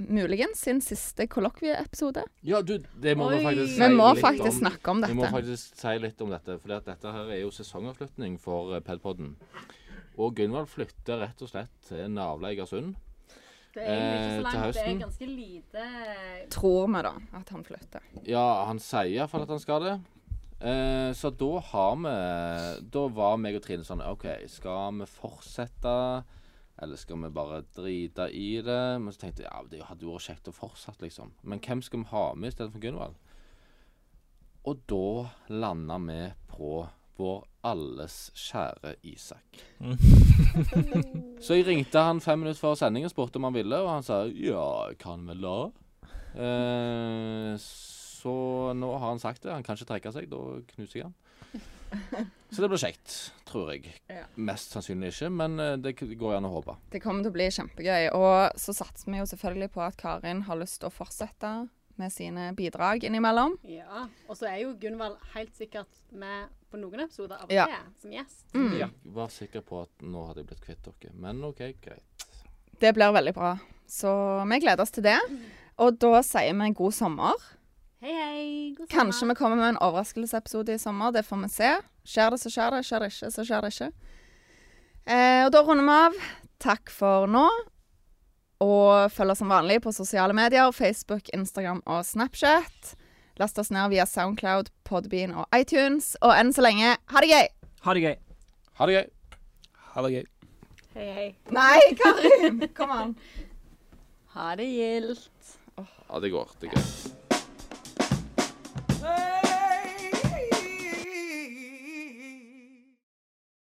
[SPEAKER 2] muligens sin siste kollokvieepisode.
[SPEAKER 5] Ja, du, det må
[SPEAKER 1] Oi.
[SPEAKER 5] vi faktisk si
[SPEAKER 2] Vi må
[SPEAKER 5] litt
[SPEAKER 2] faktisk
[SPEAKER 5] om.
[SPEAKER 2] snakke om
[SPEAKER 5] Vi må
[SPEAKER 2] dette.
[SPEAKER 5] faktisk si litt om dette, for dette her er jo sesongavslutning for eh, Pedpodden. Og Gunvald flytter rett og slett til Navla i Egersund.
[SPEAKER 1] Det er egentlig ikke så
[SPEAKER 5] Eh, til
[SPEAKER 1] langt. Det er
[SPEAKER 5] høsten.
[SPEAKER 1] ganske lite
[SPEAKER 2] Tror vi, da, at han flytter.
[SPEAKER 5] Ja, han sier iallfall at han skal det. Eh, så da har vi Da var meg og Trine sånn OK, skal vi fortsette? Eller skal vi bare drite i det? Men så tenkte jeg ja, det hadde jo vært kjekt å fortsette, liksom. Men hvem skal vi ha med istedenfor Gunvald? Og da landa vi på vår alles kjære Isak. så jeg ringte han fem minutter før sending og spurte om han ville, og han sa ja, jeg kan vel da. Eh, så nå har han sagt det. Han kan ikke trekke seg. Da knuser jeg han. Så det blir kjekt, tror jeg.
[SPEAKER 2] Ja.
[SPEAKER 5] Mest sannsynlig ikke, men eh, det k- går an å håpe.
[SPEAKER 2] Det kommer til å bli kjempegøy. Og så satser vi jo selvfølgelig på at Karin har lyst til å fortsette med sine bidrag innimellom.
[SPEAKER 1] Ja. Og så er jo Gunvald helt sikkert med på noen episoder av og
[SPEAKER 2] Ja.
[SPEAKER 1] til som gjest.
[SPEAKER 3] Mm.
[SPEAKER 5] Jeg var sikker på at nå hadde jeg blitt kvitt dere, men OK, greit.
[SPEAKER 2] Det blir veldig bra. Så vi gleder oss til det. Og da sier vi god sommer.
[SPEAKER 1] Hei, hei. God sommer.
[SPEAKER 2] Kanskje vi kommer med en overraskelsesepisode i sommer. Det får vi se. Skjer det, så skjer det. Skjer det ikke, så skjer det ikke. Eh, og da runder vi av. Takk for nå. Og følg oss som vanlig på sosiale medier. Facebook, Instagram og Snapchat. Last oss ned via Soundcloud, Podbean og iTunes. Og enn så lenge, ha det gøy!
[SPEAKER 4] Ha det gøy.
[SPEAKER 5] Ha det gøy.
[SPEAKER 3] Ha det gøy.
[SPEAKER 1] Hei, hei.
[SPEAKER 2] Nei, Karin! Kom an.
[SPEAKER 1] Ha det gildt.
[SPEAKER 5] Ja, det går. Det er greit.